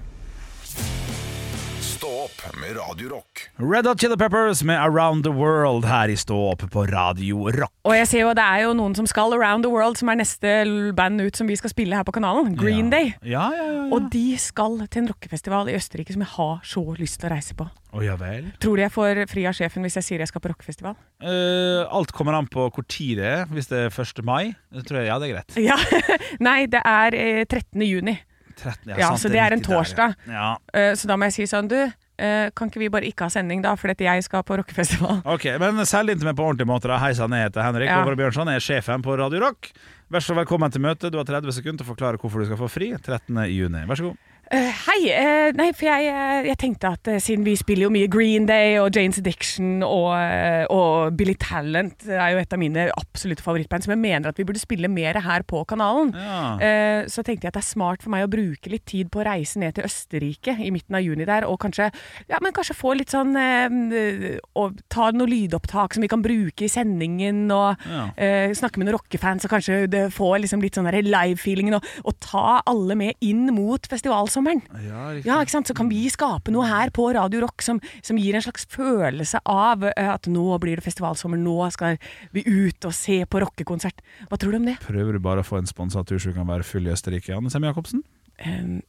Speaker 2: Stå opp med Radio Rock.
Speaker 3: Red Hot Chili Peppers med Around the World her i Stå opp på Radio Rock.
Speaker 4: Og jeg ser jo det er jo noen som skal Around the World, som er neste l- band ut som vi skal spille her på kanalen. Green Day.
Speaker 3: Ja, ja, ja. ja.
Speaker 4: Og de skal til en rockefestival i Østerrike som jeg har så lyst til å reise på.
Speaker 3: Å, ja vel.
Speaker 4: Tror du jeg får fri av sjefen hvis jeg sier jeg skal på rockefestival?
Speaker 3: Eh, alt kommer an på hvor tid det er. Hvis det er 1. mai, så tror jeg ja, det er greit.
Speaker 4: Ja. Nei, det er eh, 13. juni.
Speaker 3: 13,
Speaker 4: Ja,
Speaker 3: sant,
Speaker 4: så det er en
Speaker 3: riktig der, ja.
Speaker 4: torsdag.
Speaker 3: Ja.
Speaker 4: Eh, Så da må jeg si sånn, du, eh, kan ikke vi bare ikke ha sending da, fordi at jeg skal på rockefestival?
Speaker 3: Ok, men selg inn til meg på ordentlig måte. da. Hei sann, jeg heter Henrik
Speaker 4: Ja.
Speaker 3: Over Bjørnson. Jeg er sjefen på Radio Rock. Vær så velkommen til møtet. Du har 30 sekunder til å forklare hvorfor du skal få fri 13. juni. Vær så god.
Speaker 4: Eh, Hei, eh, nei, for jeg, eh, jeg tenkte at eh, siden vi spiller jo mye Green Day og Jane's Addiction og, eh, og Billy Talent er jo et av mine absolutte favorittband, som jeg mener at vi burde spille mer her på kanalen.
Speaker 3: Ja.
Speaker 4: Eh, Så tenkte jeg at det er smart for meg å bruke litt tid på å reise ned til Østerrike i midten av juni der, og kanskje, ja, men kanskje få litt sånn eh, Og ta noen lydopptak som vi kan bruke i sendingen, og
Speaker 3: Ja.
Speaker 4: eh, snakke med noen rockefans, og kanskje det få liksom litt sånn der live-feelingen, og, og ta alle med inn mot festivalsommeren.
Speaker 3: Ja, riktig.
Speaker 4: Ja, ikke sant? Så kan vi skape noe her på Radio Rock som, som gir en slags følelse av eh, at nå blir det festivalsommer, nå skal vi ut og se på rockekonsert. Hva tror du om det?
Speaker 3: Prøver du bare å få en sponsa tur så du kan være full i Østerrike, Anne Semme Jacobsen?
Speaker 4: Ehm,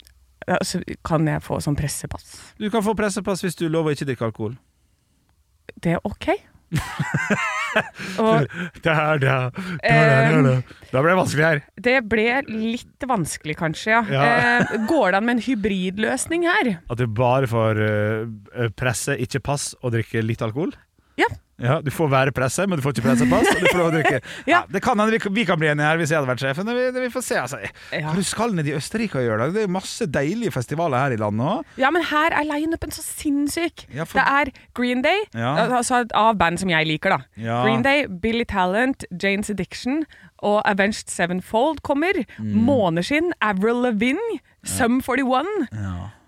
Speaker 4: altså, kan jeg få sånn pressepass?
Speaker 3: Du kan få pressepass hvis du lover å ikke drikke alkohol.
Speaker 4: Det er ok. Og
Speaker 3: Der, der,
Speaker 4: ehm,
Speaker 3: Da ble det vanskelig her.
Speaker 4: det ble litt vanskelig, kanskje. Ja.
Speaker 3: Ja.
Speaker 4: Ehm, går det an med en hybridløsning her?
Speaker 3: eh, At du bare får presse, ikke pass, og drikke litt alkohol?
Speaker 4: Ja,
Speaker 3: Ja, Du får være presser, men du får ikke pressepass. Og du får lov å drikke. ja.
Speaker 4: Ja.
Speaker 3: det kan hende vi, kan- vi kan bli enige her hvis jeg hadde vært sjefen. men Vi, det, vi får se, altså.
Speaker 4: Ja.
Speaker 3: Hva du skal ned i Østerrike og gjøre? da? Det er jo masse deilige festivaler her i landet òg.
Speaker 4: Ja, men her er lineupen så sinnssyk.
Speaker 3: Ja, for-
Speaker 4: Det er Green Day,
Speaker 3: Ja.
Speaker 4: altså av band som jeg liker, da.
Speaker 3: Ja.
Speaker 4: Green Day, Billy Talent, Jane's Addiction og Avenged Sevenfold kommer.
Speaker 3: Mm.
Speaker 4: Måneskinn, Avril Lavigne, Sum 41,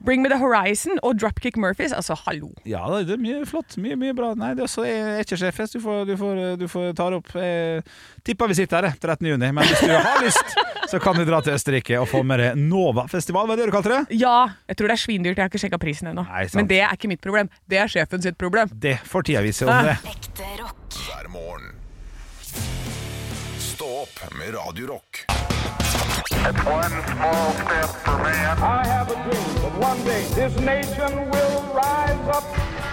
Speaker 4: Bring Me The Horizon og Dropkick Murphys. Altså, hallo.
Speaker 3: Ja, da, det er mye flott. Mye mye bra. Nei, det er også, jeg er ikke sjef. jeg, så Du får, du får, eh, du får ta det opp. Jeg tipper vi sitter her jeg, 13. juni, men hvis du har lyst, så kan du dra til Østerrike og få med deg Nova-festival. Hva er det du kalte det?
Speaker 4: Ja, jeg tror det er svindyrt, jeg har ikke sjekka prisen ennå.
Speaker 3: Nei, sant.
Speaker 4: Men det er ikke mitt problem, det er sjefen sitt problem.
Speaker 3: Det får tida vise om det.
Speaker 7: Ekte rock.
Speaker 2: hver morgen. Stå opp med Radio Rock.
Speaker 8: I have a dream that one day this nation will rise up.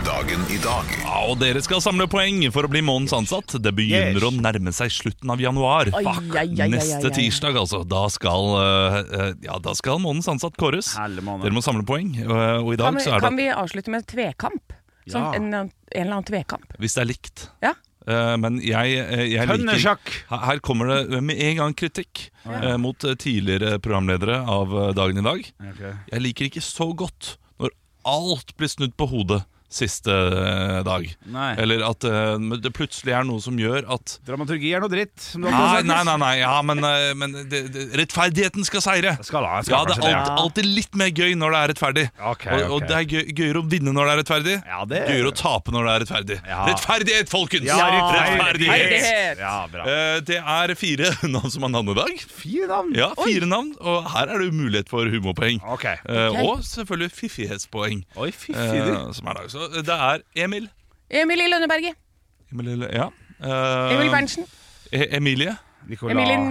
Speaker 2: Dagen i dag
Speaker 5: Ja, og dere skal samle poeng for å bli månedens ansatt. Det begynner
Speaker 3: Yes.
Speaker 5: å nærme seg slutten av januar.
Speaker 4: Oi,
Speaker 5: Fuck.
Speaker 4: ai, ai, ai, ai,
Speaker 5: Neste
Speaker 4: ai.
Speaker 5: tirsdag, altså. Da skal, eh, eh, ja, da skal månedens ansatt kåres.
Speaker 3: Helle måned.
Speaker 5: Dere må samle poeng. eh, og i dag
Speaker 4: Kan vi,
Speaker 5: så er
Speaker 4: kan
Speaker 5: det
Speaker 4: vi avslutte med tvekamp? Som
Speaker 3: Ja.
Speaker 4: en, en eller annen tvekamp.
Speaker 5: Hvis det er likt.
Speaker 4: Ja.
Speaker 5: Eh, men jeg, eh, jeg liker
Speaker 3: Tønnesjakk.
Speaker 5: Her- Her kommer det med en gang kritikk eh, mot eh, tidligere programledere av eh, Dagen i dag.
Speaker 3: Ok.
Speaker 5: Jeg liker ikke så godt når alt blir snudd på hodet siste eh, dag.
Speaker 3: Nei.
Speaker 5: Eller at eh, men det plutselig er noe som gjør at
Speaker 3: Dramaturgi er noe dritt. Som du har
Speaker 5: Nei,
Speaker 3: sagt.
Speaker 5: nei, nei, nei ja, men, eh, men det, det, rettferdigheten skal seire.
Speaker 3: Skal ha, skal
Speaker 5: Ja, det er
Speaker 3: kanskje det,
Speaker 5: alt, alltid litt mer gøy når det er rettferdig.
Speaker 3: Ok,
Speaker 5: Og, og
Speaker 3: ok.
Speaker 5: det er gøy, gøyere å vinne når det er rettferdig.
Speaker 3: Ja, det-
Speaker 5: Gøyere å tape når det er rettferdig.
Speaker 3: Ja.
Speaker 5: Rettferdighet, folkens!
Speaker 3: Ja,
Speaker 5: rettferdighet!
Speaker 4: rettferdighet.
Speaker 3: Ja, bra.
Speaker 5: Eh, det er fire navn som har navnedag.
Speaker 3: Fire navn.
Speaker 5: Ja, fire navn, og her er det mulighet for humorpoeng.
Speaker 3: Ok.
Speaker 5: Eh, og selvfølgelig fiffighetspoeng.
Speaker 3: Oi, fy
Speaker 5: eh, som er dag. Så det er Emil.
Speaker 4: Emilie Lønneberget.
Speaker 5: Emil eller- ja. Eh,
Speaker 4: Emil Berntsen.
Speaker 5: E- Emilie.
Speaker 3: Nicolas.
Speaker 4: Emilien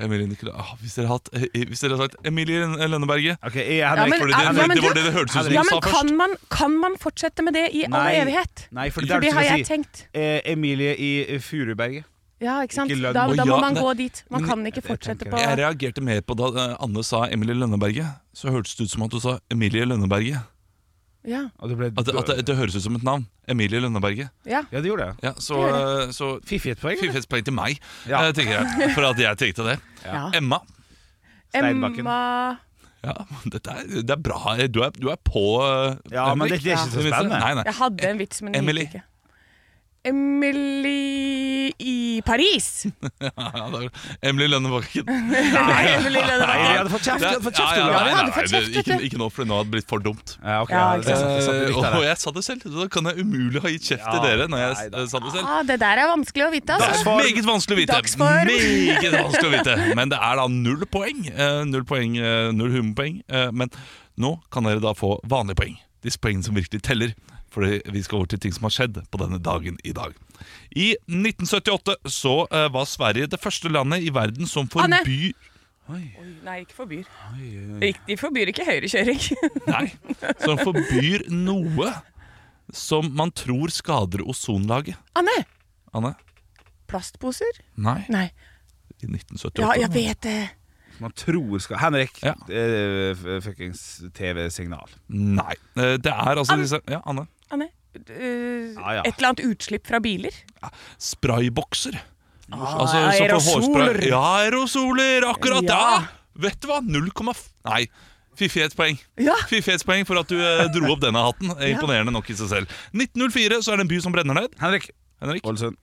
Speaker 5: Emilie Nicola. Ah, hvis, dere hadde, hatt- eh, hvis dere hadde sagt Emilie Lønneberget
Speaker 3: Ok, jeg,
Speaker 4: Ja,
Speaker 3: Henrik.
Speaker 4: men-
Speaker 5: Fordi det,
Speaker 4: ja, men
Speaker 5: det var
Speaker 4: du-
Speaker 5: det det hørtes ut som
Speaker 4: Ja,
Speaker 5: du sa
Speaker 4: men
Speaker 5: først.
Speaker 4: kan man, kan man fortsette med det i all
Speaker 3: Nei.
Speaker 4: evighet?
Speaker 3: Nei, for det
Speaker 4: For
Speaker 3: er det
Speaker 4: det
Speaker 3: du
Speaker 4: har
Speaker 3: skal
Speaker 4: jeg
Speaker 3: si.
Speaker 4: tenkt.
Speaker 3: Eh, Emilie i Furuberget.
Speaker 4: Ja, ikke sant?
Speaker 3: Ikke lønn.
Speaker 4: Da,
Speaker 5: Å,
Speaker 4: da må
Speaker 5: ja,
Speaker 4: man
Speaker 5: nei.
Speaker 4: gå dit. Man
Speaker 5: Men-
Speaker 4: kan ikke fortsette på
Speaker 5: Jeg reagerte mer på da eh, Anne sa Emilie Lønneberget. Så hørtes det ut som at du sa Emilie Lønneberget.
Speaker 4: Ja,
Speaker 3: Og det ble
Speaker 5: At, at det, det høres ut som et navn. Emilie Lønneberget.
Speaker 4: ja.
Speaker 3: Ja, det gjorde det.
Speaker 5: Ja, så, eh, så
Speaker 3: Fiffighetspoeng. eller?
Speaker 5: Fiffighetspoeng til meg,
Speaker 3: Ja.
Speaker 5: eh, tenker jeg. For at jeg tenkte det.
Speaker 4: Ja.
Speaker 5: Emma.
Speaker 3: Steinbakken.
Speaker 4: Emma
Speaker 5: Ja, dette er, det er bra. Du er, du er på eh,
Speaker 3: Ja, men det-
Speaker 5: Henrik.
Speaker 3: det er ikke så
Speaker 5: Ja.
Speaker 3: spennende.
Speaker 5: Nei, nei.
Speaker 4: Jeg hadde en vits, men
Speaker 5: Emily.
Speaker 4: jeg gikk ikke. Emily i Paris.
Speaker 5: Ja, det er- Emily Lønnebakken.
Speaker 4: Emily
Speaker 3: Nei, vi
Speaker 4: Lønneberget.
Speaker 3: hadde fått kjeft! Vi hadde fått kjeft
Speaker 5: Ja, ja,
Speaker 3: Olav.
Speaker 5: nei,
Speaker 4: vi hadde
Speaker 5: nei,
Speaker 4: fått
Speaker 5: det-
Speaker 4: kjeft, vet
Speaker 5: ikke,
Speaker 4: du.
Speaker 5: ikke nå, for nå hadde det blitt for dumt.
Speaker 3: Ja, ok,
Speaker 4: Ja,
Speaker 3: det
Speaker 4: ikke sant.
Speaker 3: satt- det satt
Speaker 5: Eh,
Speaker 3: likt der,
Speaker 5: og
Speaker 3: ja.
Speaker 5: jeg sa det selv, så da kan jeg umulig ha gitt kjeft til
Speaker 3: Ja,
Speaker 5: dere. Når jeg
Speaker 3: nei da.
Speaker 5: eh, sa det selv
Speaker 4: Ah, det der er vanskelig å vite, altså.
Speaker 3: Dagsform.
Speaker 5: Meget vanskelig å vite.
Speaker 4: Dagsform.
Speaker 5: Meget vanskelig å vite Men det er da null poeng. Eh, Null poeng, eh, null humorpoeng. Eh, Men nå kan dere da få vanlige poeng. Disse poengene som virkelig teller. Fordi vi skal over til ting som har skjedd på denne dagen i dag. I 1978 så eh, var Sverige det første landet i verden som
Speaker 4: Anne!
Speaker 5: forbyr
Speaker 4: Nei, ikke forbyr. Ikke- De forbyr ikke høyrekjøring.
Speaker 5: Nei, som forbyr noe som man tror skader ozonlaget.
Speaker 4: Anne!
Speaker 5: Anne?
Speaker 4: Plastposer?
Speaker 5: Nei.
Speaker 4: Nei.
Speaker 5: I 1978.
Speaker 4: Ja, jeg vet det.
Speaker 3: Man tror skal Henrik,
Speaker 5: Ja.
Speaker 3: eh, f- fuckings TV-signal.
Speaker 5: Nei. Eh, Det er altså
Speaker 4: Anne.
Speaker 5: disse Ja, Anne.
Speaker 4: Anne, øh,
Speaker 5: Ah,
Speaker 3: Ja, ja.
Speaker 4: et eller annet utslipp fra biler?
Speaker 5: spraybokser. Altså,
Speaker 4: Ah,
Speaker 5: så for
Speaker 4: aerosoler.
Speaker 5: hårspray- Ja, aerosoler, akkurat
Speaker 4: Ja.
Speaker 5: da! Vet du hva? 0,5 Nei, fiffighetspoeng.
Speaker 4: Ja.
Speaker 5: Fiffighetspoeng for at du eh, dro opp denne hatten. Imponerende nok i seg selv. 1904 så er det en by som brenner ned.
Speaker 3: Henrik
Speaker 5: Henrik?
Speaker 3: Ålesund.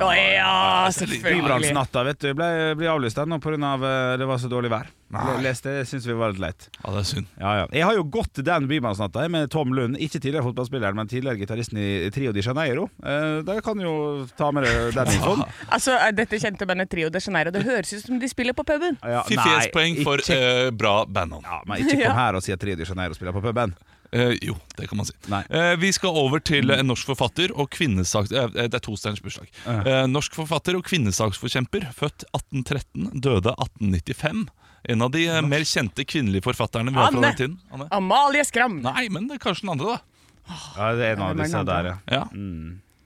Speaker 4: Å ja, selvfølgelig.
Speaker 3: Bybransjenatta vet du, ble, ble avlyst der nå pga. Av, eh, det var så dårlig vær.
Speaker 5: Nei.
Speaker 3: Le- Leste, det syns vi var litt leit.
Speaker 5: Ja, det er synd.
Speaker 3: Ja, ja. Jeg har jo gått den bymannsnatta jeg, med Tom Lund. Ikke tidligere fotballspilleren, men tidligere gitaristen i Trio de Janeiro. Eh, der kan du jo ta med deg den infoen.
Speaker 4: Altså, er Dette kjente bandet Trio de Janeiro. Det høres ut som de spiller på puben.
Speaker 3: Ja,
Speaker 5: Fiffighetspoeng
Speaker 3: nei,
Speaker 5: for
Speaker 3: ikke,
Speaker 5: eh, bra bandnavn.
Speaker 3: ja, Men ikke kom her og si at Trio de Janeiro spiller på puben.
Speaker 5: Eh, jo, det kan man si.
Speaker 3: Nei.
Speaker 5: Eh, vi skal over til en norsk forfatter og kvinnesaks... eh, det er Tosteins bursdag. Eh, norsk forfatter og kvinnesaksforkjemper, født 1813, døde 1895. En av de eh, mer kjente kvinnelige forfatterne vi har fra
Speaker 4: Anne.
Speaker 5: den tiden. Anne.
Speaker 4: Amalie Skram.
Speaker 5: Nei, men det er kanskje den andre, da.
Speaker 3: Ja, det er en av
Speaker 4: Hvem er den
Speaker 3: disse
Speaker 4: andre?
Speaker 3: der, ja.
Speaker 5: Ja.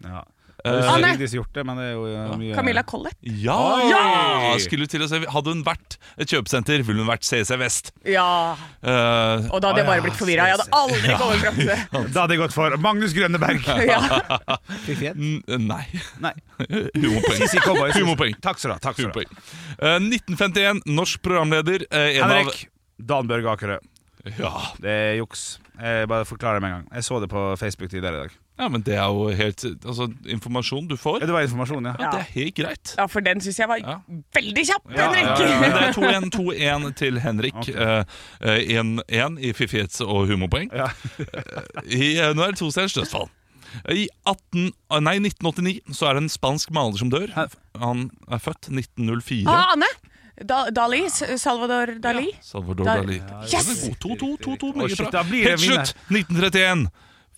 Speaker 3: Ja.
Speaker 5: Eh,
Speaker 3: Anne!
Speaker 4: Anne!
Speaker 3: Vigdis gjort det, men det er jo eh, mye
Speaker 4: Camilla Collett.
Speaker 5: ja!
Speaker 3: Oi!
Speaker 5: Skulle til å si Hadde hun vært et kjøpesenter, ville hun vært CC Vest.
Speaker 4: Ja.
Speaker 5: Eh,
Speaker 4: Og da hadde jeg bare blitt forvirra. Jeg hadde aldri kommet fram til det.
Speaker 3: Da hadde jeg gått for Magnus Grønneberg.
Speaker 4: Ja.
Speaker 5: n- eh, nei.
Speaker 3: Nei.
Speaker 5: Humorpoeng.
Speaker 3: CC Cowboys.
Speaker 5: Humorpoeng.
Speaker 3: Takk skal du ha. Takk skal du ha.
Speaker 5: Humorpoeng. Eh, 1951, norsk programleder. eh, en av-
Speaker 3: Henrik. Dan Børge Akerø.
Speaker 5: Ja,
Speaker 3: Det er juks. Jeg bare forklarer det med en gang. Jeg så det på Facebook tidligere i dag.
Speaker 5: ja, men det er jo helt Altså, informasjon du får,
Speaker 3: Ja, Det var informasjon, ja.
Speaker 5: ja, det er helt greit.
Speaker 4: ja, for den syns jeg var
Speaker 5: Ja.
Speaker 4: veldig kjapp,
Speaker 5: Ja, ja, ja.
Speaker 4: Henrik!
Speaker 5: Det er 2-1, 2-1 til Henrik.
Speaker 3: Ok.
Speaker 5: Eh, eh, 1-1 i fiffighets- og humorpoeng.
Speaker 3: Ja.
Speaker 5: I, eh, nå er det to stjerners dødsfall. I 18, ah, nei, 1989 så er det en spansk maler som dør. Han er født 1904.
Speaker 4: Ah, Anne! Da, Dali. Salvador Dali.
Speaker 5: Salvador
Speaker 4: Da-
Speaker 5: Dali.
Speaker 4: Yes!
Speaker 5: 2-2-2-2,
Speaker 3: Å,
Speaker 5: meget
Speaker 3: shit,
Speaker 5: bra.
Speaker 3: da blir det
Speaker 5: Helt
Speaker 3: vinner.
Speaker 5: slutt! 1931.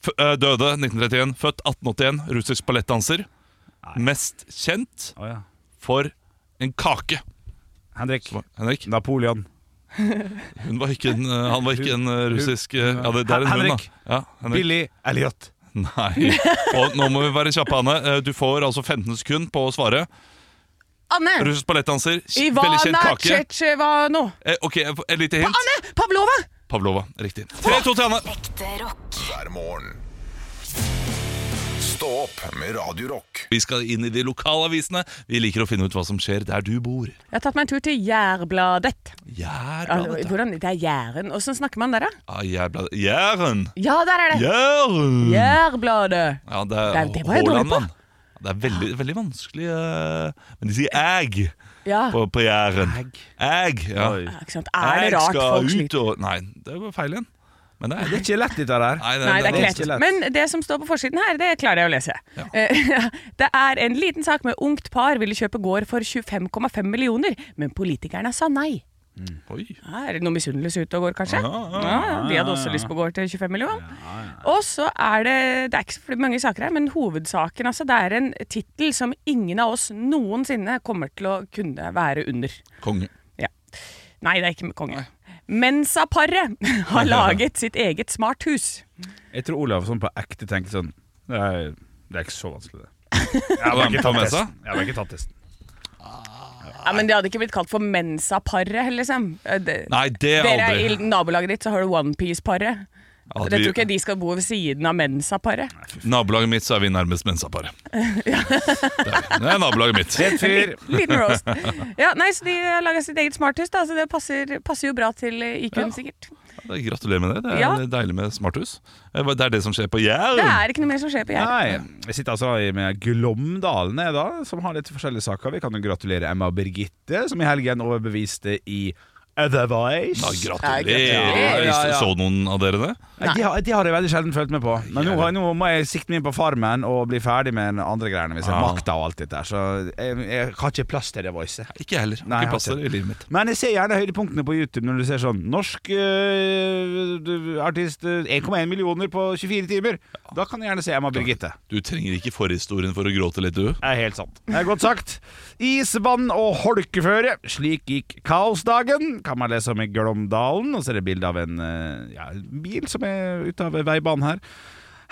Speaker 5: F eh, døde 1931. Født 1881. Russisk ballettdanser. Mest kjent
Speaker 3: Å, ja.
Speaker 5: for en kake.
Speaker 3: Henrik.
Speaker 5: Henrik?
Speaker 3: Napoleon.
Speaker 5: Hun var ikke en, eh, han var ikke en eh, russisk eh, Ja, det, det er en hun,
Speaker 3: Henrik.
Speaker 5: da. Ja, Henrik.
Speaker 3: Billy Elliot.
Speaker 5: Nei. Og nå må vi være kjappe, Anne. Eh, Du får altså 15 sekunder på å svare.
Speaker 4: Anne!
Speaker 5: Russisk ballettdanser, kj- veldig kjent
Speaker 4: Ivana
Speaker 5: kake.
Speaker 4: Tsjetsjevano.
Speaker 5: Eh, ok, Et lite hint.
Speaker 4: Anne! Pavlova!
Speaker 5: Pavlova. Riktig. 3-2 til Anne.
Speaker 7: Ekte rock.
Speaker 2: hver morgen. Stå opp med Radio Rock
Speaker 5: Vi skal inn i de lokalavisene. Vi liker å finne ut hva som skjer der du bor.
Speaker 4: Jeg har tatt meg en tur til Jærbladet. Altså,
Speaker 5: Jærbladet.
Speaker 4: hvordan, det er Jæren. Åssen snakker man der, da?
Speaker 5: Ah, Jærbladet. Jæren!
Speaker 4: Ja, der er det!
Speaker 5: Jæren!
Speaker 4: Jærbladet.
Speaker 5: Ja, det er
Speaker 4: Det- det var jeg dårlig
Speaker 5: Haaland,
Speaker 4: på.
Speaker 5: mann. Det er veldig, veldig vanskelig eh, Men de sier æg
Speaker 4: Ja.
Speaker 5: på, på Jæren. Æg. Ja.
Speaker 3: Oi.
Speaker 4: Ja, Ikke sant? Ah. Er det rart folk
Speaker 5: Jeg
Speaker 4: sliter?
Speaker 5: skal ut og Nei, det var feil igjen. Men det er
Speaker 3: Det er ikke lett, dette her.
Speaker 5: Nei,
Speaker 4: Nei, det er
Speaker 3: det er
Speaker 4: ikke
Speaker 3: ikke
Speaker 4: lett.
Speaker 3: lett.
Speaker 4: Men det som står på forsiden her, det klarer jeg å lese. Eh, Det er en liten sak med ungt par ville kjøpe gård for 25,5 millioner, men politikerne sa nei.
Speaker 5: Oi.
Speaker 4: Ja, Ah, Er det noe misunnelse ute og går, kanskje?
Speaker 5: Ja, ja,
Speaker 4: Ja, de hadde også lyst på gård til 25 millioner. Og så er det Det er ikke så mange saker her, men hovedsaken, altså. Det er en tittel som ingen av oss noensinne kommer til å kunne være under.
Speaker 5: Konge.
Speaker 4: Ja. Nei, det er ikke konge. Mensa-paret har laget sitt eget smarthus.
Speaker 3: Jeg tror Olav sånn på ekte tenker sånn Det er, det er ikke så vanskelig, det. Jeg
Speaker 5: Hva er
Speaker 3: hadde
Speaker 5: det
Speaker 3: ikke
Speaker 5: på
Speaker 3: tatt
Speaker 5: Mensa?
Speaker 3: testen. Jeg hadde ikke tatt testen.
Speaker 4: Ja, men det hadde ikke blitt kalt for Mensa-paret, liksom. Eh, det-
Speaker 5: Nei, det er
Speaker 4: Dere er
Speaker 5: aldri
Speaker 4: i nabolaget ditt, så har du Onepiece-paret.
Speaker 5: Aldri-
Speaker 4: Jeg tror ikke de skal bo ved siden av Mensa-paret.
Speaker 5: Nabolaget mitt, så er vi nærmest mensaparet. Der. Det er nabolaget mitt.
Speaker 3: Et fyr.
Speaker 4: Liten roast. Ja, nei, så De har laga sitt eget smarthus, da, så det passer, passer jo bra til eh, IQ-en, sikkert.
Speaker 5: Ja, Gratulerer med det. Det er
Speaker 4: Ja.
Speaker 5: deilig med smarthus. Eh, Det er det som skjer på
Speaker 4: Det
Speaker 5: Jæren.
Speaker 4: er ikke noe mer som skjer på Jæren.
Speaker 3: Nei, jeg sitter altså i- med Glåmdalen jeg da, som har litt forskjellige saker. Vi kan jo gratulere Emma og Birgitte, som i helgen overbeviste i Otherwise.
Speaker 5: Ja,
Speaker 4: Ja,
Speaker 3: ja,
Speaker 5: gratulerer.
Speaker 3: ja.
Speaker 5: Så noen av dere det?
Speaker 3: Nei, de, har, de har jeg veldig sjelden følt med på. Men nå, har- nå må jeg sikte meg inn på Farmen og bli ferdig med den andre greiene. Hvis jeg
Speaker 5: Ah.
Speaker 3: makter og alt dette her. Så jeg, jeg har ikke plass til det voicet.
Speaker 5: Ikke jeg heller. Har
Speaker 3: Nei, jeg
Speaker 5: ikke
Speaker 3: har
Speaker 5: plass til det i livet mitt.
Speaker 3: Men jeg ser gjerne høydepunktene på YouTube når du ser sånn Norsk øh, du- artist øh, 1,1 millioner på 24 timer. Da kan jeg gjerne se Emma Birgitte.
Speaker 5: Du trenger ikke forhistorien for å gråte litt, du.
Speaker 3: Det er helt sant. Det er godt sagt. Isvann og holkeføre. Slik gikk kaosdagen. Kan man lese om i Glåmdalen. Og så er det bilde av en øh, ja, bil som er ute av veibanen her.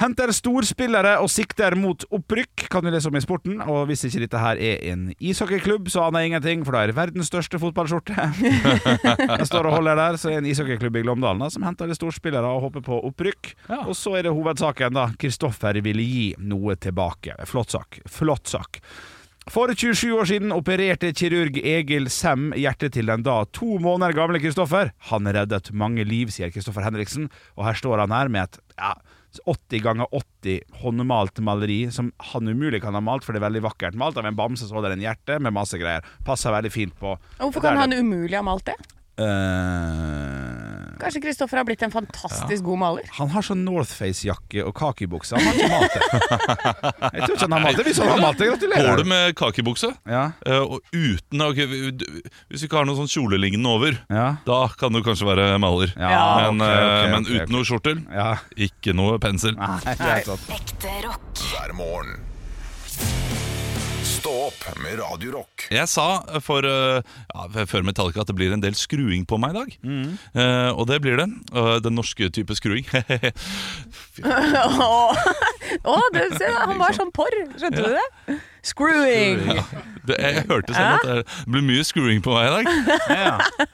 Speaker 3: Henter storspillere og sikter mot opprykk, kan du lese om i Sporten. Og hvis ikke dette her er en ishockeyklubb, så aner jeg ingenting, for da er det verdens største fotballskjorte. Jeg står og holder der, så er det en ishockeyklubb i Glåmdalen da, som henter litt storspillere og håper på opprykk. Og så er det hovedsaken, da. Kristoffer ville gi noe tilbake. Flott sak. Flott sak. For 27 år siden opererte kirurg Egil Sem hjertet til den da to måneder gamle Kristoffer. Han reddet mange liv, sier Kristoffer Henriksen, og her står han her med et ja, 80 ganger 80 håndmalt maleri, som han umulig kan ha malt, for det er veldig vakkert malt av en bamse som holder en hjerte med masse greier. Passer veldig fint på. Der
Speaker 4: Hvorfor kan
Speaker 3: er
Speaker 4: han
Speaker 3: det-
Speaker 4: umulig ha malt det?
Speaker 3: Eh,
Speaker 4: Kanskje Kristoffer har blitt en fantastisk god maler?
Speaker 3: han har sånn Northface-jakke og kakibukse. Han har ikke malt det. Jeg tror ikke han har malt det. Hvis han har malt det, gratulerer.
Speaker 5: Går det med kakebukse?
Speaker 3: Ja,
Speaker 5: Eh, og uten ok, vi- du- Hvis du ikke har noe sånn kjolelignende over,
Speaker 3: ja,
Speaker 5: da kan du kanskje være maler.
Speaker 3: Ja,
Speaker 5: men,
Speaker 3: ok, ok,
Speaker 5: eh, men
Speaker 3: ok, ok.
Speaker 5: uten noe skjortel,
Speaker 3: ja.
Speaker 5: ikke noe pensel.
Speaker 3: Nei, det er sant.
Speaker 7: Ekte rock.
Speaker 2: hver morgen. Stå opp med Radio Rock
Speaker 5: Jeg sa for, eh, ja, f- før Metallica at det blir en del skruing på meg i dag.
Speaker 3: Mm.
Speaker 5: Eh, og det blir det. Eh, den norske type skruing. Fy faen.
Speaker 4: Å, det, se, da, han var sånn porr, skjønte du det? Screwing.
Speaker 5: Det, jeg hørte selv at det blir mye screwing på meg i dag.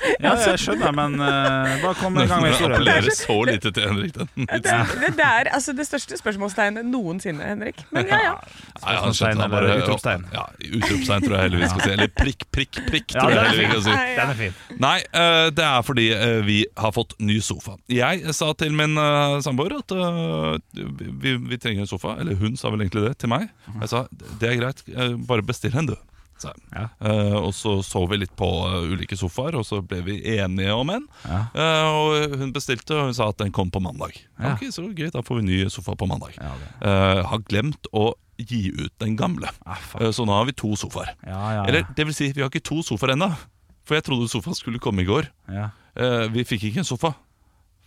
Speaker 3: Ja, ja jeg skjønner, men eh, bare kom i gang med
Speaker 5: Jeg
Speaker 3: historien.
Speaker 5: appellerer så lite til Henrik. Den.
Speaker 4: Det, det, det er altså det største spørsmålstegnet noensinne, Henrik. Men ja, ja.
Speaker 5: Nei, han
Speaker 3: Spørsmålstegn
Speaker 5: skjønte han bare-
Speaker 3: eller utropstegn?
Speaker 5: Ja, utropstegn tror jeg heller vi skal si. Eller prikk, prikk, prikk.
Speaker 3: Ja,
Speaker 5: tror jeg
Speaker 3: den er
Speaker 5: heller vi
Speaker 3: fin.
Speaker 5: kan si.
Speaker 4: Nei,
Speaker 3: Den er fin.
Speaker 5: Nei, eh, det er fordi eh, vi har fått ny sofa. Jeg sa til min eh, samboer at eh, vi, vi trenger en sofa. Eller hun sa vel egentlig det til meg. Jeg sa det er greit, eh, bare bestill en, du. sa jeg.
Speaker 3: Ja.
Speaker 5: Eh, og så så vi litt på eh, ulike sofaer, og så ble vi enige om en.
Speaker 3: Ja.
Speaker 5: Eh, og hun bestilte, og hun sa at den kom på mandag.
Speaker 3: Ja.
Speaker 5: Ok, Så gøy, da får vi ny sofa på mandag.
Speaker 3: Ja, det.
Speaker 5: Eh, har glemt å gi ut den gamle,
Speaker 3: Ah, fuck.
Speaker 5: Eh, så nå har vi to sofaer.
Speaker 3: Ja, ja,
Speaker 5: Eller det vil si, vi har ikke to sofaer ennå. For jeg trodde sofaen skulle komme i går.
Speaker 3: ja.
Speaker 5: Eh, vi fikk ikke en sofa.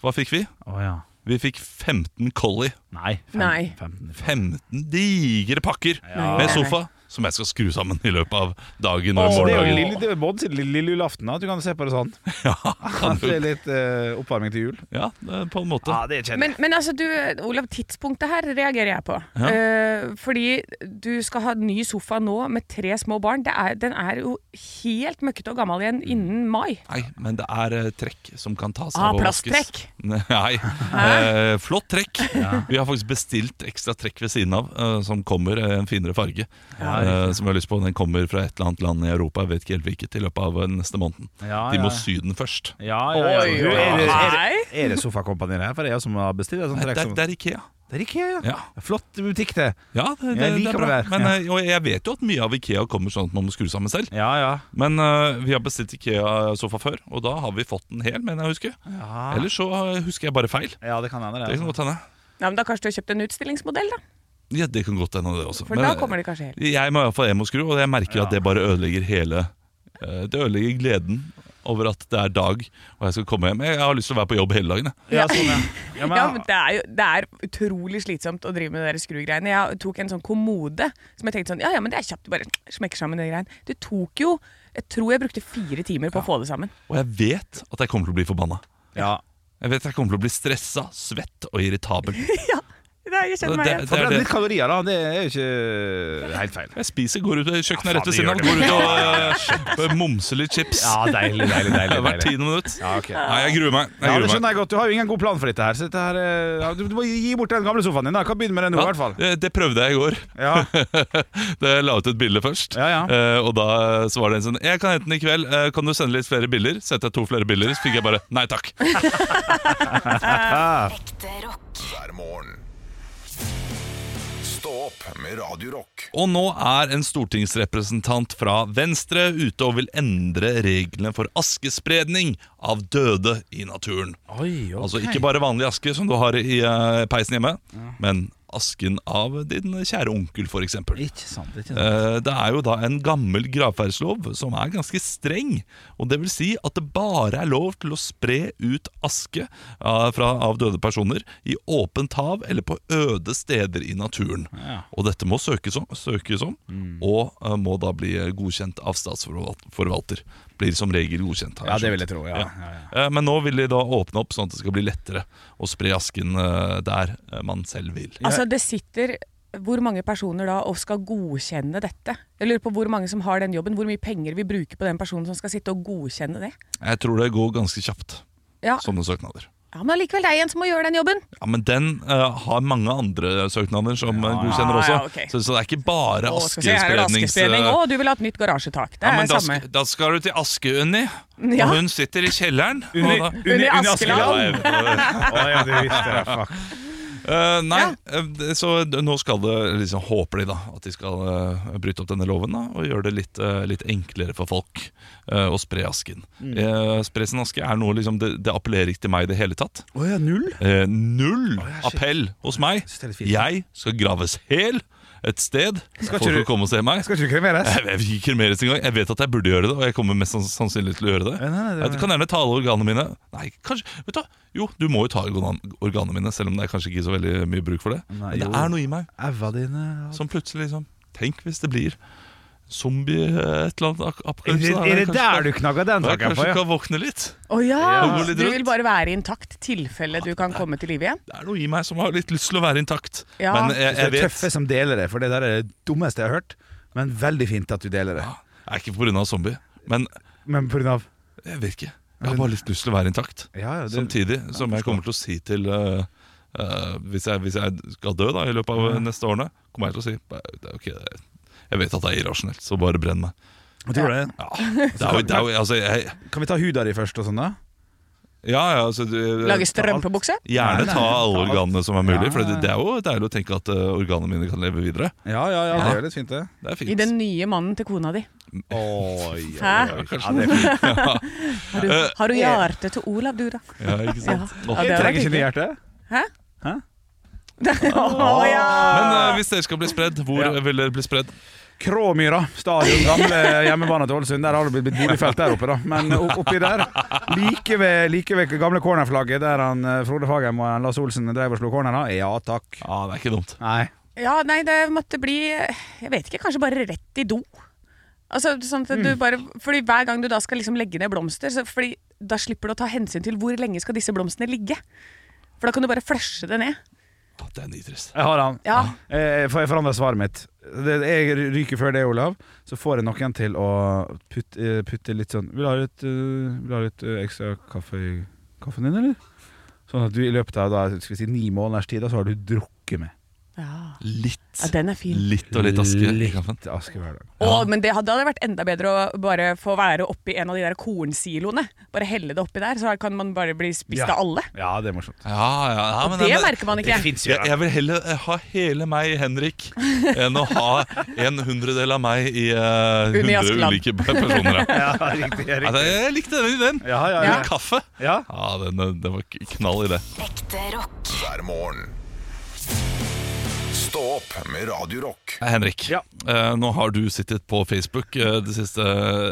Speaker 5: Hva fikk vi?
Speaker 3: Å ja.
Speaker 5: Vi fikk 15 collie.
Speaker 3: Nei. fem-
Speaker 4: Nei.
Speaker 3: 15.
Speaker 5: 15 digre pakker
Speaker 4: Ja.
Speaker 5: med sofa som jeg skal skru sammen i løpet av dagen
Speaker 3: Åh,
Speaker 5: og
Speaker 3: det er jo
Speaker 5: morgendagen.
Speaker 3: lille, det er Bodd sitt lille, lille julaften, da, at du kan se på det sånn.
Speaker 5: Kan
Speaker 3: At
Speaker 5: du-
Speaker 3: det er litt eh, oppvarming til jul.
Speaker 5: Ja, det er på en måte.
Speaker 3: det er
Speaker 4: Men, men altså, du, Olav, tidspunktet her reagerer jeg på.
Speaker 5: Ja.
Speaker 4: Eh, fordi du skal ha ny sofa nå med tre små barn. Det er, den er jo helt møkkete og gammel igjen innen mai.
Speaker 5: Nei, men det er eh, trekk som kan tas
Speaker 4: Ah,
Speaker 5: av og vaskes.
Speaker 4: plasttrekk?
Speaker 5: Nei. Eh, flott trekk. Vi har faktisk bestilt ekstra trekk ved siden av, eh, som kommer i en finere farge. eh, som jeg har lyst på. Den kommer fra et eller annet land i Europa, jeg vet ikke helt hvilket, i løpet av eh, neste måneden.
Speaker 3: Ja, Ah,
Speaker 5: De
Speaker 3: ja.
Speaker 5: må sy den først.
Speaker 3: Ja, ja, ja.
Speaker 4: Oi,
Speaker 3: Du, er det, er
Speaker 4: Nei.
Speaker 3: det, er det sofakompanier her? For det er jeg som har bestilt. Sånn
Speaker 5: Nei, det,
Speaker 3: trekk
Speaker 5: er,
Speaker 3: som-
Speaker 5: det er Ikea.
Speaker 3: Det er ikke ja.
Speaker 5: Ja.
Speaker 3: Flott butikk, det.
Speaker 5: Ja, det, det,
Speaker 3: Jeg
Speaker 5: det
Speaker 3: liker
Speaker 5: er bra.
Speaker 3: det der.
Speaker 5: Men, eh, og jeg vet jo at mye av Ikea kommer sånn at man må skru sammen selv.
Speaker 3: Ja, ja.
Speaker 5: Men eh, vi har bestilt Ikea-sofa før, og da har vi fått den hel, mener jeg å huske. Ellers så eh, husker jeg bare feil.
Speaker 3: Ah. Ja, det kan hende.
Speaker 5: Det kan
Speaker 3: Det.
Speaker 5: godt hende.
Speaker 4: Ja, men da kanskje du har kjøpt en utstillingsmodell, da.
Speaker 5: Ja, det kan godt hende, det også.
Speaker 4: For da kommer det kanskje helt.
Speaker 5: Jeg må iallfall emo-skru, og jeg merker at det bare ødelegger hele eh, Det ødelegger gleden over at det er dag, og jeg skal komme hjem. Jeg har lyst til å være på jobb hele dagen. jeg.
Speaker 3: Ja, sånn, ja. Ja, men,
Speaker 4: Ja, men det, er jo, det er utrolig slitsomt å drive med de der skrugreiene. Jeg tok en sånn kommode som jeg tenkte sånn Ja ja, men det er kjapt, du bare smekker sammen de greiene. Det tok jo Jeg tror jeg brukte fire timer på å få det sammen.
Speaker 5: Og jeg vet at jeg kommer til å bli forbanna.
Speaker 3: ja.
Speaker 5: Jeg vet at jeg kommer til å bli stressa, svett og irritabel.
Speaker 4: Nei, jeg kjenner meg
Speaker 5: Det-
Speaker 4: igjen.
Speaker 3: For det er litt kalorier, da. Det er jo ikke eh, helt feil.
Speaker 5: Jeg spiser, går ut i kjøkkenet rett ved
Speaker 3: faen,
Speaker 5: siden av,
Speaker 3: det
Speaker 5: går ut og eh, momser litt chips
Speaker 3: deilig, deilig, deilig.
Speaker 5: hvert tiende minutt.
Speaker 3: Ja, ok.
Speaker 5: Nei, jeg gruer meg.
Speaker 3: Ja,
Speaker 5: Jeg
Speaker 3: det
Speaker 5: gruer meg.
Speaker 3: skjønner jeg godt. Du har jo ingen god plan for dette her. Så dette her eh, ja, du, du må gi bort den gamle sofaen din. da Kan begynne med den nå, i hvert fall.
Speaker 5: Ja, det- det prøvde jeg i går.
Speaker 3: Ja.
Speaker 5: Da jeg la ut et bilde først.
Speaker 3: Ja, ja.
Speaker 5: Eh, og da så var det en sånn Jeg kan hente den i kveld. Eh, kan du sende litt flere bilder? Sendte jeg to flere bilder, så fikk jeg bare nei takk.
Speaker 7: Ekte rock.
Speaker 2: hver morgen. Stå opp med Radio Rock.
Speaker 5: Og nå er en stortingsrepresentant fra Venstre ute og vil endre reglene for askespredning av døde i naturen.
Speaker 3: Oi,
Speaker 5: Altså ikke bare vanlig aske som du har i eh, peisen hjemme, men asken av din kjære onkel, f.eks.
Speaker 3: Ikke sant. Ikke sant.
Speaker 5: Eh, Det er jo da en gammel gravferdslov som er ganske streng. Og det vil si at det bare er lov til å spre ut aske eh, fra, av døde personer i åpent hav eller på øde steder i naturen. Og dette må søkes om, søkes om
Speaker 3: Mm.
Speaker 5: og eh, må da bli godkjent av statsforvalter. Blir som regel godkjent. har
Speaker 3: Ja, det
Speaker 5: skjønt.
Speaker 3: vil jeg tro. Ja. Ja, ja.
Speaker 5: Eh, Men nå vil de da åpne opp sånn at det skal bli lettere å spre asken eh, der eh, man selv vil.
Speaker 4: Altså, det sitter hvor mange personer da og skal godkjenne dette? Jeg lurer på hvor mange som har den jobben, hvor mye penger vi bruker på den personen som skal sitte og godkjenne det.
Speaker 5: Jeg tror det går ganske kjapt,
Speaker 4: Ja,
Speaker 5: sånne søknader.
Speaker 4: ja Men allikevel, det er en som må gjøre den jobben!
Speaker 5: Ja, Men den eh, har mange andre søknader som eh, godkjenner også.
Speaker 4: Ja, ja, ok.
Speaker 5: så, så det er ikke bare
Speaker 4: Å, skal vi se, her er det
Speaker 5: askesprednings...
Speaker 4: askespredning.
Speaker 5: eh,
Speaker 4: Å, du vil ha et nytt garasjetak. Det
Speaker 5: ja,
Speaker 4: er
Speaker 5: men da,
Speaker 4: samme.
Speaker 5: sk- da skal du til Aske-Unni,
Speaker 4: Ja.
Speaker 5: og hun sitter i kjelleren. og
Speaker 3: Unni-
Speaker 5: da-
Speaker 3: Unni-
Speaker 4: Unni
Speaker 3: Unni
Speaker 4: Askeland.
Speaker 3: Å ja, du visste det. Fuck.
Speaker 5: Eh, nei,
Speaker 4: Ja.
Speaker 5: eh, det- så d- nå skal det liksom håper de da at de skal eh, bryte opp denne loven da, og gjøre det litt, eh, litt enklere for folk eh, å spre asken.
Speaker 3: Mm.
Speaker 5: Eh, spre sin aske er noe liksom, det, det appellerer ikke til meg i det hele tatt.
Speaker 3: Å ja, null?
Speaker 5: Eh, null
Speaker 3: shit.
Speaker 5: appell hos meg.
Speaker 3: synes det er litt fint.
Speaker 5: Jeg skal graves hel et sted.
Speaker 3: Skal ikke
Speaker 5: Folk
Speaker 3: du-
Speaker 5: skal komme og se meg.
Speaker 3: Skal ikke du kremeres?
Speaker 5: Jeg vil ikke kremeres engang. Jeg vet at jeg burde gjøre det, og jeg kommer mest sann- sannsynlig til å gjøre det.
Speaker 3: Ja, nei, det-
Speaker 5: Jeg kan gjerne ta alle organene mine. Nei, kanskje Vet du hva? Jo, du må jo ta organ- organene mine, selv om det er kanskje ikke så veldig mye bruk for det.
Speaker 3: Nei,
Speaker 5: Men det
Speaker 3: jo.
Speaker 5: er noe i meg
Speaker 3: Æva dine
Speaker 5: som plutselig liksom Tenk hvis det blir zombie eh, et eller annet ak-
Speaker 3: Er
Speaker 5: apokalypse.
Speaker 3: det,
Speaker 5: da.
Speaker 3: er det
Speaker 5: kanskje-
Speaker 3: der du knagga den
Speaker 5: da
Speaker 3: takken
Speaker 5: Kanskje
Speaker 3: på?
Speaker 5: du
Speaker 3: Ja.
Speaker 5: kan våkne litt?
Speaker 4: Å ja!
Speaker 5: Og gå litt
Speaker 4: Du
Speaker 5: rundt.
Speaker 4: vil bare være intakt tilfelle du kan komme til live igjen.
Speaker 5: Det er noe i meg som har litt lyst til å være intakt.
Speaker 4: Ja.
Speaker 5: Men jeg,
Speaker 3: Jeg
Speaker 5: jeg
Speaker 3: det er
Speaker 5: vet
Speaker 3: tøffe som deler det, for det der er det dummeste jeg har hørt. Men veldig fint at du deler det.
Speaker 5: Det er ikke pga. zombie, men
Speaker 3: Men på grunn av
Speaker 5: jeg vet ikke. Jeg har bare litt lyst til å være intakt.
Speaker 3: Ja, ja, det,
Speaker 5: Samtidig som jeg kommer til å si til eh, eh, hvis, jeg, hvis jeg skal dø da i løpet av neste årene, kommer jeg til å si "Nei, det er ok, det er- jeg vet at det er irrasjonelt, så bare brenn meg.
Speaker 3: tror du det?
Speaker 5: Ja, det er jo, det er jo altså, jeg,
Speaker 3: Kan vi ta huda di først og sånn, da?
Speaker 5: ja, ja, altså du,
Speaker 4: Lage strømpebukse.
Speaker 5: Gjerne ta alle organene som er mulig,
Speaker 3: Ja,
Speaker 5: for
Speaker 3: ja, ja.
Speaker 5: det, det er jo deilig å tenke at eh, organene mine kan leve videre.
Speaker 3: Ja, ja, ja, det er jo litt fint, det.
Speaker 5: Det er
Speaker 4: I
Speaker 5: fint.
Speaker 4: den nye mannen til kona di.
Speaker 3: Oi,
Speaker 4: Hæ?
Speaker 3: Ja, det er fint.
Speaker 4: Har
Speaker 5: Eh,
Speaker 4: du, har du hjertet til Olav, du, da?
Speaker 5: Ja, ikke
Speaker 4: Ja.
Speaker 5: sant?
Speaker 4: det
Speaker 5: Åh.
Speaker 3: Jeg
Speaker 4: hadde vært
Speaker 3: trenger ikke
Speaker 4: hyggelig.
Speaker 3: nye hjerte.
Speaker 4: Hæ?
Speaker 3: Hæ?
Speaker 4: Å ja!
Speaker 5: Men eh, hvis dere skal bli spredd, hvor vil dere bli spredd?
Speaker 3: Kråmyra stadion, gamle hjemmebane til Ålesund. Der har det blitt- blitt boligfelt der oppe, da. Men o- oppi der, like ved, like ved gamle cornerflagget, der han eh, Frode Fagheim og Lars Olsen drev og slo cornera, ja takk.
Speaker 5: Ja, det er ikke dumt.
Speaker 3: Nei.
Speaker 4: Ja, nei, det måtte bli Jeg vet ikke, kanskje bare rett i do. Altså, sånn at du bare, fordi Hver gang du da skal liksom legge ned blomster, så, fordi da slipper du å ta hensyn til hvor lenge skal disse blomstene ligge. For da kan du bare flashe det ned.
Speaker 5: Ja, Det er nitrist.
Speaker 3: Jeg har han.
Speaker 4: Ja,
Speaker 3: Eh, for jeg forandrer svaret mitt. Det, jeg ryker før det, Olav. Så får jeg noen til å putte, eh, putte litt sånn Vil du ha litt, eh, vil du ha litt eh, ekstra kaffe i kaffen din, eller? Sånn at du i løpet av da, skal vi si, ni måneders tid, da, så har du drukket med
Speaker 4: ja.
Speaker 5: Litt.
Speaker 4: ja den er fin.
Speaker 5: Litt og litt aske i
Speaker 3: Litt
Speaker 5: kaffen.
Speaker 3: aske hver dag.
Speaker 4: Å, men det hadde, hadde vært enda bedre å bare få være oppi en av de der kornsiloene. Bare helle det oppi der, så kan man bare bli spist
Speaker 3: Ja.
Speaker 4: av alle.
Speaker 3: Ja, det er morsomt.
Speaker 5: Ja, ja, ja, men-
Speaker 4: det
Speaker 5: men-
Speaker 4: merker man ikke.
Speaker 5: jeg, jeg vil heller eh, ha hele meg i Henrik enn å ha en hundredel av meg i eh,
Speaker 4: Unni
Speaker 5: hundre
Speaker 4: Askeland.
Speaker 5: ulike personer. ja.
Speaker 3: Ja, riktig,
Speaker 5: Ja, det- Jeg likte den ideen.
Speaker 3: Ja, ja, ja.
Speaker 5: Med Kaffe.
Speaker 3: ja.
Speaker 5: Ja, den, den- den var k- knall i det.
Speaker 7: Ekte rock.
Speaker 2: hver morgen. Stå opp med Radio Rock.
Speaker 5: Henrik,
Speaker 3: Ja.
Speaker 5: eh, nå har du sittet på Facebook eh, de siste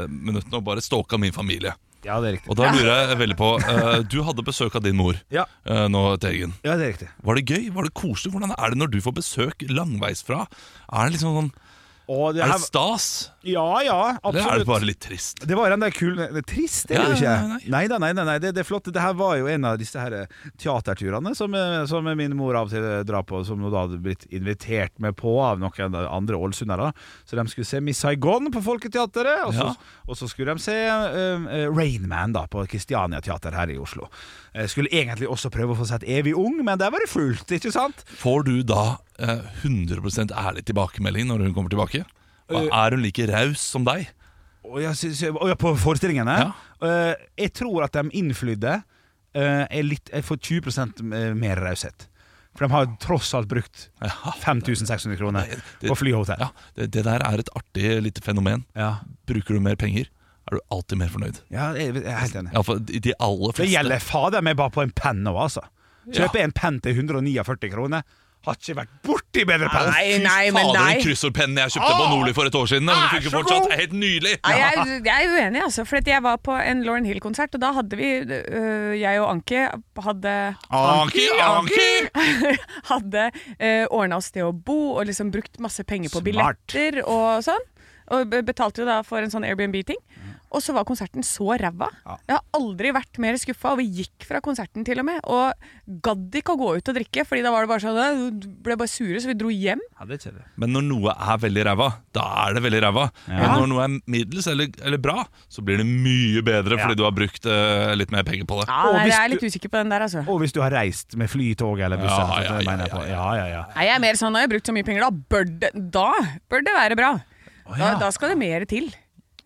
Speaker 5: minuttene og bare stalka min familie.
Speaker 3: Ja, det er riktig.
Speaker 5: Og da lurer jeg veldig på eh, Du hadde besøk av din mor
Speaker 3: Ja.
Speaker 5: eh, nå til helgen.
Speaker 3: Ja, det er riktig.
Speaker 5: Var det gøy? Var det koselig? Hvordan er det når du får besøk langveisfra? Er det liksom sånn
Speaker 3: Og det
Speaker 5: Er
Speaker 3: her,
Speaker 5: det stas?
Speaker 3: ja, ja,
Speaker 5: Eller er det
Speaker 3: absolutt.
Speaker 5: bare litt trist?
Speaker 3: Det var den der kul... Det er trist, det er det jo
Speaker 5: Ja,
Speaker 3: ikke. Nei da, nei, nei, nei. Det, det er flott. Det her var jo en av disse her eh, teaterturene som, eh, som min mor av og til eh, drar på, som hun da hadde blitt invitert med på av noen andre ålesundere. Så de skulle se Miss Saigon på Folketeatret, og så,
Speaker 5: Ja.
Speaker 3: og så skulle de se eh, eh, Rain Man da, på Kristiania Teater her i Oslo. Eh, skulle egentlig også prøve å få sett Evig ung, men der var det fullt, ikke sant?
Speaker 5: Får du da eh, 100 ærlig tilbakemelding når hun kommer tilbake?
Speaker 3: Øh.
Speaker 5: Og er hun like raus som deg?
Speaker 3: Og jeg synes, og ja, på forestillingene?
Speaker 5: Ja.
Speaker 3: Eh, jeg tror at de innflydde eh, er litt, er for 20 mer raushet. For de har tross alt brukt
Speaker 5: Ja,
Speaker 3: 5600 kroner
Speaker 5: det-
Speaker 3: på flyhotell.
Speaker 5: ja det, det der er et artig lite fenomen.
Speaker 3: Ja.
Speaker 5: Bruker du mer penger, er du alltid mer fornøyd.
Speaker 3: ja, jeg jeg er helt enig.
Speaker 5: Iallfall de de aller
Speaker 3: Det
Speaker 5: fleste.
Speaker 3: gjelder fader meg bare på en penn nå, altså. Kjøper jeg en penn til 149 kroner, har ikke vært borti bedre penn.
Speaker 4: Nei, nei, men
Speaker 5: Fader, den
Speaker 4: nei.
Speaker 5: kryssordpennen jeg kjøpte på Nordli for et år siden, den
Speaker 3: er
Speaker 5: funker
Speaker 3: så
Speaker 5: fortsatt
Speaker 3: god!
Speaker 5: helt nydelig!
Speaker 4: Nei, jeg, jeg er uenig, altså. For at jeg var på en Lauren Hill-konsert, og da hadde vi øh, Jeg og Anki hadde
Speaker 5: Anki, Anki!
Speaker 4: Hadde øh, ordna oss sted å bo og liksom brukt masse penger på
Speaker 3: Smart.
Speaker 4: billetter og sånn. Og be- betalte jo da for en sånn Airbnb-ting. Og så var konserten så ræva. Jeg har aldri vært mer skuffa, og vi gikk fra konserten til og med. Og gadd ikke å gå ut og drikke, Fordi da var det bare sånn øh, Du ble bare sure, så vi dro hjem.
Speaker 3: Ja, det er ikke det.
Speaker 5: Men når noe er veldig ræva, da er det veldig ræva. Men når noe er middels eller, eller bra, så blir det mye bedre fordi du har brukt eh, litt mer penger på det.
Speaker 4: Ja,
Speaker 3: Og
Speaker 4: nei,
Speaker 3: hvis
Speaker 4: jeg er
Speaker 3: du-
Speaker 4: litt usikker på den der, altså.
Speaker 3: Og hvis du har reist med fly, tog eller buss.
Speaker 5: Ja,
Speaker 3: altså,
Speaker 5: ja,
Speaker 3: det
Speaker 5: ja,
Speaker 3: mener jeg på. ja, ja, ja.
Speaker 4: Nei, jeg er mer sånn, har jeg brukt så mye penger, da bør det, da bør det være bra. Da, da skal det mer til.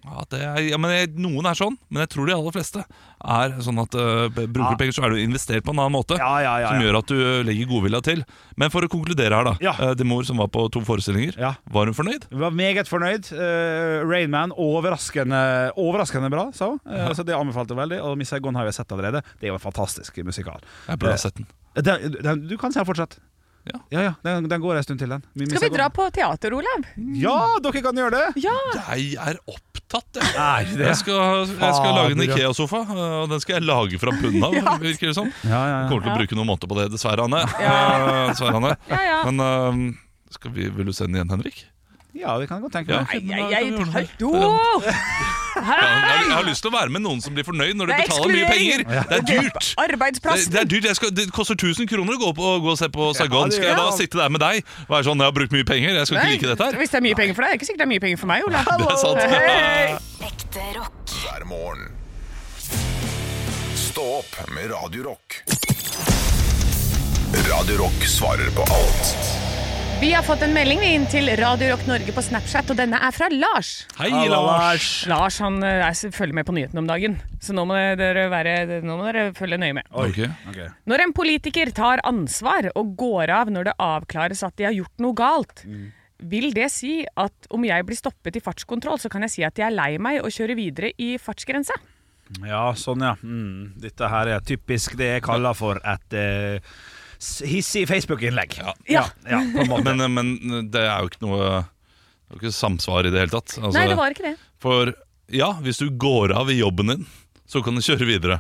Speaker 5: Ja, det er, ja, men jeg, Noen er sånn, men jeg tror de aller fleste er sånn at eh, b- bruker du penger, så er du investert på en annen måte.
Speaker 3: Ja, ja, ja,
Speaker 5: Som
Speaker 3: ja.
Speaker 5: gjør at du øh, legger godvilja til. Men for å konkludere her, da.
Speaker 3: Ja.
Speaker 5: eh, Din mor som var på to forestillinger,
Speaker 3: Ja.
Speaker 5: var hun fornøyd?
Speaker 3: Vi var meget fornøyd. Uh, Rainman overraskende, overraskende bra, sa hun. Eh, så det anbefalte hun veldig. Og Miss Saigon har jeg sett allerede. Det er jo en fantastisk musikal.
Speaker 5: Jeg burde
Speaker 3: Eh,
Speaker 5: ha sett den.
Speaker 3: Den, den, du kan se den fortsatt.
Speaker 5: Ja.
Speaker 3: ja, den, den går en stund til, den. Miss
Speaker 4: Skal vi
Speaker 3: Saigon.
Speaker 4: dra på teater, Olav?
Speaker 3: Ja, dere kan gjøre det!
Speaker 4: Ja!
Speaker 5: Jeg er opptatt, jeg.
Speaker 3: Er det?
Speaker 5: Jeg skal, jeg skal
Speaker 3: Fader,
Speaker 5: lage en
Speaker 3: ja.
Speaker 5: Ikea-sofa, eh, og den skal jeg lage fra bunnen av. virker det som.
Speaker 3: Ja, ja, ja.
Speaker 5: Kommer til å bruke noen måneder på det, dessverre, Anne. Eh, dessverre, Anne.
Speaker 4: Ja, ja.
Speaker 5: Men eh, skal vi, vil du se den igjen, Henrik?
Speaker 3: Ja, det kan jeg godt tenke
Speaker 5: Ja.
Speaker 3: meg.
Speaker 4: Nei, jeg,
Speaker 5: Hva
Speaker 4: jeg
Speaker 5: gjorde
Speaker 4: tar
Speaker 5: du?
Speaker 4: do!
Speaker 5: Jeg har,
Speaker 4: Hei!
Speaker 5: jeg har lyst til å være med noen som blir fornøyd når de
Speaker 4: Det er
Speaker 5: betaler mye penger.
Speaker 4: ekskludering.
Speaker 5: Det er dyrt. Det,
Speaker 4: Arbeidsplassen!
Speaker 5: det er dyrt. Jeg skal, det koster 1000 kroner å gå, på, å gå og se på Saigon.
Speaker 3: det
Speaker 5: Skal jeg
Speaker 3: gjør
Speaker 5: da
Speaker 3: det.
Speaker 5: sitte der med deg og være sånn 'Jeg har brukt mye penger, jeg skal ikke like dette her'?
Speaker 4: Hvis det er mye penger for deg, det er ikke sikkert det er mye penger for meg, Ola.
Speaker 5: Det er sant.
Speaker 4: Hei!
Speaker 7: Ekte rock.
Speaker 2: hver morgen. Stå opp med Radio Rock. Radio Rock svarer på alt.
Speaker 4: Vi har fått en melding vi, inn til Radio Rock Norge på Snapchat, og denne er fra Lars.
Speaker 5: Hei, Lars.
Speaker 4: Lars han eh, er, følger med på nyhetene om dagen, så nå må dere, være, nå må dere følge nøye med.
Speaker 5: Ok.
Speaker 3: Ok.
Speaker 4: Når en politiker tar ansvar og går av når det avklares at de har gjort noe galt, vil det si at om jeg blir stoppet i fartskontroll, så kan jeg si at jeg er lei meg og kjøre videre i fartsgrensa?
Speaker 3: Altså Ja, sånn ja. Mm. Dette her er typisk det jeg kaller for et eh, s- hissig Facebook-innlegg. Ja.
Speaker 4: Ja.
Speaker 3: ja, på en måte.
Speaker 5: Men, men det er jo ikke noe det er jo ikke samsvar i det hele tatt. Altså,
Speaker 4: Nei, det var ikke det.
Speaker 5: For ja, hvis du går av i jobben din, så kan du kjøre videre.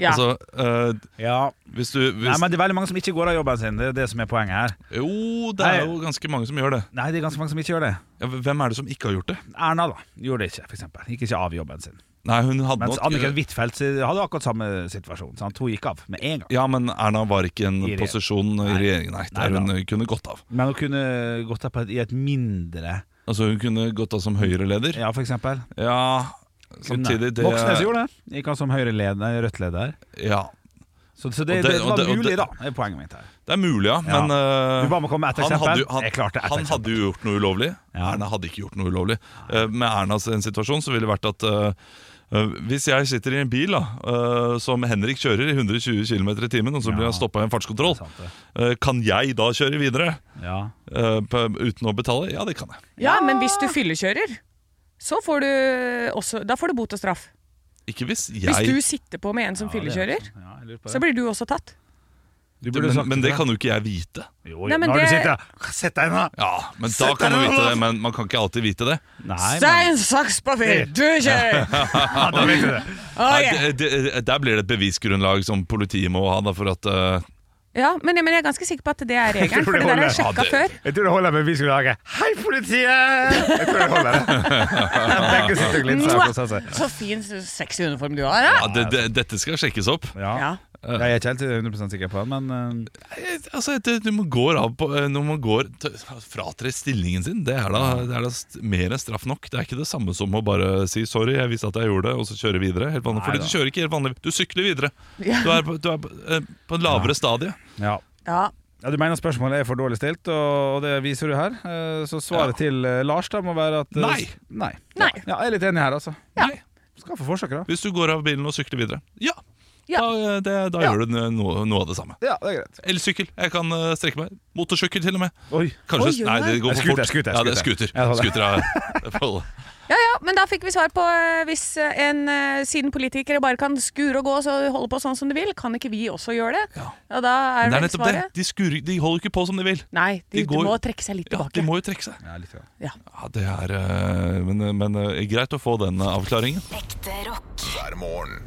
Speaker 4: Ja.
Speaker 5: Altså, eh,
Speaker 3: Ja.
Speaker 5: hvis du hvis,
Speaker 3: Nei, men det er veldig mange som ikke går av jobben sin. Det er det som er poenget her.
Speaker 5: Jo, det er
Speaker 3: Nei.
Speaker 5: jo ganske mange som gjør det.
Speaker 3: Nei, det er ganske mange som ikke gjør det.
Speaker 5: Ja, hvem er det som ikke har gjort det?
Speaker 3: Erna da, gjorde det ikke, for eksempel. Gikk ikke av jobben sin.
Speaker 5: Nei, hun hadde
Speaker 3: Mens
Speaker 5: nok eh,
Speaker 3: Anniken Huitfeldt hadde akkurat samme situasjon. Sant? Hun gikk av med en gang.
Speaker 5: Ja, men Erna var ikke i en
Speaker 3: I regjering.
Speaker 5: posisjon i regjeringen nei, der
Speaker 3: Nei,
Speaker 5: hun kunne gått av.
Speaker 3: Men hun kunne gått av på et, i et mindre
Speaker 5: Altså, hun kunne gått av som Høyre-leder. Ja.
Speaker 3: Ja, for eksempel. Kunne.
Speaker 5: samtidig det,
Speaker 3: Moxnes gjorde det. Gikk av som Høyre-leder, Rødt-leder.
Speaker 5: Ja.
Speaker 3: Så, så det,
Speaker 5: Og det-
Speaker 3: det,
Speaker 5: og
Speaker 3: var
Speaker 5: det- og
Speaker 3: mulig,
Speaker 5: det-
Speaker 3: da, er poenget mitt her.
Speaker 5: Det er mulig, ja,
Speaker 3: Ja.
Speaker 5: men eh,
Speaker 3: Du ba meg komme med ett
Speaker 5: han
Speaker 3: eksempel.
Speaker 5: hadde jo- han-
Speaker 3: jeg klarte ett
Speaker 5: Han
Speaker 3: eksempel.
Speaker 5: hadde jo gjort noe ulovlig.
Speaker 3: Ja.
Speaker 5: Erna hadde ikke gjort noe ulovlig. Eh, med Ernas en situasjon så ville det vært at eh, eh, hvis jeg sitter i en bil da, eh, som Henrik kjører i 120 km i timen, og så blir jeg stoppa i en fartskontroll,
Speaker 3: Sant det.
Speaker 5: eh, kan jeg da kjøre videre
Speaker 3: Ja.
Speaker 5: eh, på, uten å betale? Ja, det kan jeg.
Speaker 4: Ja, men hvis du fyllekjører, så får du også Da får du bot og straff.
Speaker 5: Ikke hvis jeg
Speaker 4: Hvis du sitter på med en som fyllekjører,
Speaker 3: Ja, jeg lurer på
Speaker 4: så
Speaker 3: det.
Speaker 4: blir du også tatt.
Speaker 3: Du burde
Speaker 5: men,
Speaker 3: sagt
Speaker 5: men det kan jo ikke jeg vite.
Speaker 3: Jo, jo.
Speaker 4: Nei, men
Speaker 3: Nå har du
Speaker 4: det-
Speaker 3: sittet der. Sett deg ned!
Speaker 5: Ja, men da kan man vite det, men man kan ikke alltid vite det.
Speaker 3: Nei, men,
Speaker 4: Stein, saks, papir! Du kjører!
Speaker 3: ja, da vet du det.
Speaker 4: Å, ja.
Speaker 5: Nei, det, det, der blir det et bevisgrunnlag som politiet må ha da, for at eh,
Speaker 4: Ja, men, men jeg er ganske sikker på at det er regelen,
Speaker 3: Jeg tror
Speaker 4: for
Speaker 3: det
Speaker 4: det der har
Speaker 3: holder.
Speaker 4: jeg sjekka før.
Speaker 3: Jeg tror det holder med viskelage. Hei, politiet! Jeg tror det holder. Begge sitter og glinser og koser seg.
Speaker 4: Så fin sexy uniform du har, da.
Speaker 5: ja, det, det, dette skal sjekkes opp.
Speaker 3: Ja.
Speaker 4: Ja.
Speaker 3: Jeg er ikke helt 100 sikker på det, men eh,
Speaker 5: Eh, Altså, det, når man går av på, eh, når man går t- fratrer stillingen sin, det er da, det er da st mer enn straff nok. Det er ikke det samme som å bare si 'sorry, jeg visste at jeg gjorde det', og så kjøre videre. Helt vanlig,
Speaker 3: Nei
Speaker 5: fordi
Speaker 3: da.
Speaker 5: du kjører ikke helt vanlig. Du sykler videre.
Speaker 4: Ja.
Speaker 5: Du er på, du er på, eh, på en lavere stadie.
Speaker 3: ja.
Speaker 4: ja.
Speaker 3: Ja, Du mener spørsmålet er for dårlig stilt, og det viser du her. Eh, Så svaret til eh, Lars da må være at eh,
Speaker 5: Nei.
Speaker 3: Nei.
Speaker 4: Nei.
Speaker 3: Ja, jeg er litt enig her, altså.
Speaker 5: Nei.
Speaker 3: Skal få forsøk, da.
Speaker 5: Hvis du går av bilen og sykler videre, ja,
Speaker 4: Ja.
Speaker 5: da, eh, det, da
Speaker 3: Ja.
Speaker 5: gjør du noe, noe av det samme.
Speaker 3: Ja, det er greit.
Speaker 5: Elsykkel. Jeg kan eh, strekke meg. Motorsykkel, til og med.
Speaker 3: Oi.
Speaker 4: Oi, oi,
Speaker 5: Kanskje Nei,
Speaker 4: oi.
Speaker 5: det går for
Speaker 3: Scooter,
Speaker 5: fort.
Speaker 3: scooter,
Speaker 5: ja, det er
Speaker 3: scooter. Ja,
Speaker 5: scooter.
Speaker 3: det holder.
Speaker 5: Scooter er, det får holde.
Speaker 4: Ja, ja, men da fikk vi svar på eh, hvis en eh, siden politikere bare kan skure og gå og holde på sånn som de vil, kan ikke vi også gjøre det? Ja, da er
Speaker 5: Men
Speaker 4: vel
Speaker 5: det er nettopp det.
Speaker 4: svaret
Speaker 5: De, skur, de holder ikke på som de vil.
Speaker 4: Nei, de,
Speaker 5: De går-
Speaker 4: de må trekke seg litt
Speaker 5: Ja,
Speaker 4: tilbake.
Speaker 5: de må jo trekke seg.
Speaker 3: Ja, litt, ja.
Speaker 5: Ja, det er eh, Men, men eh, greit å få den avklaringen.
Speaker 7: Ekte rock.
Speaker 2: hver morgen.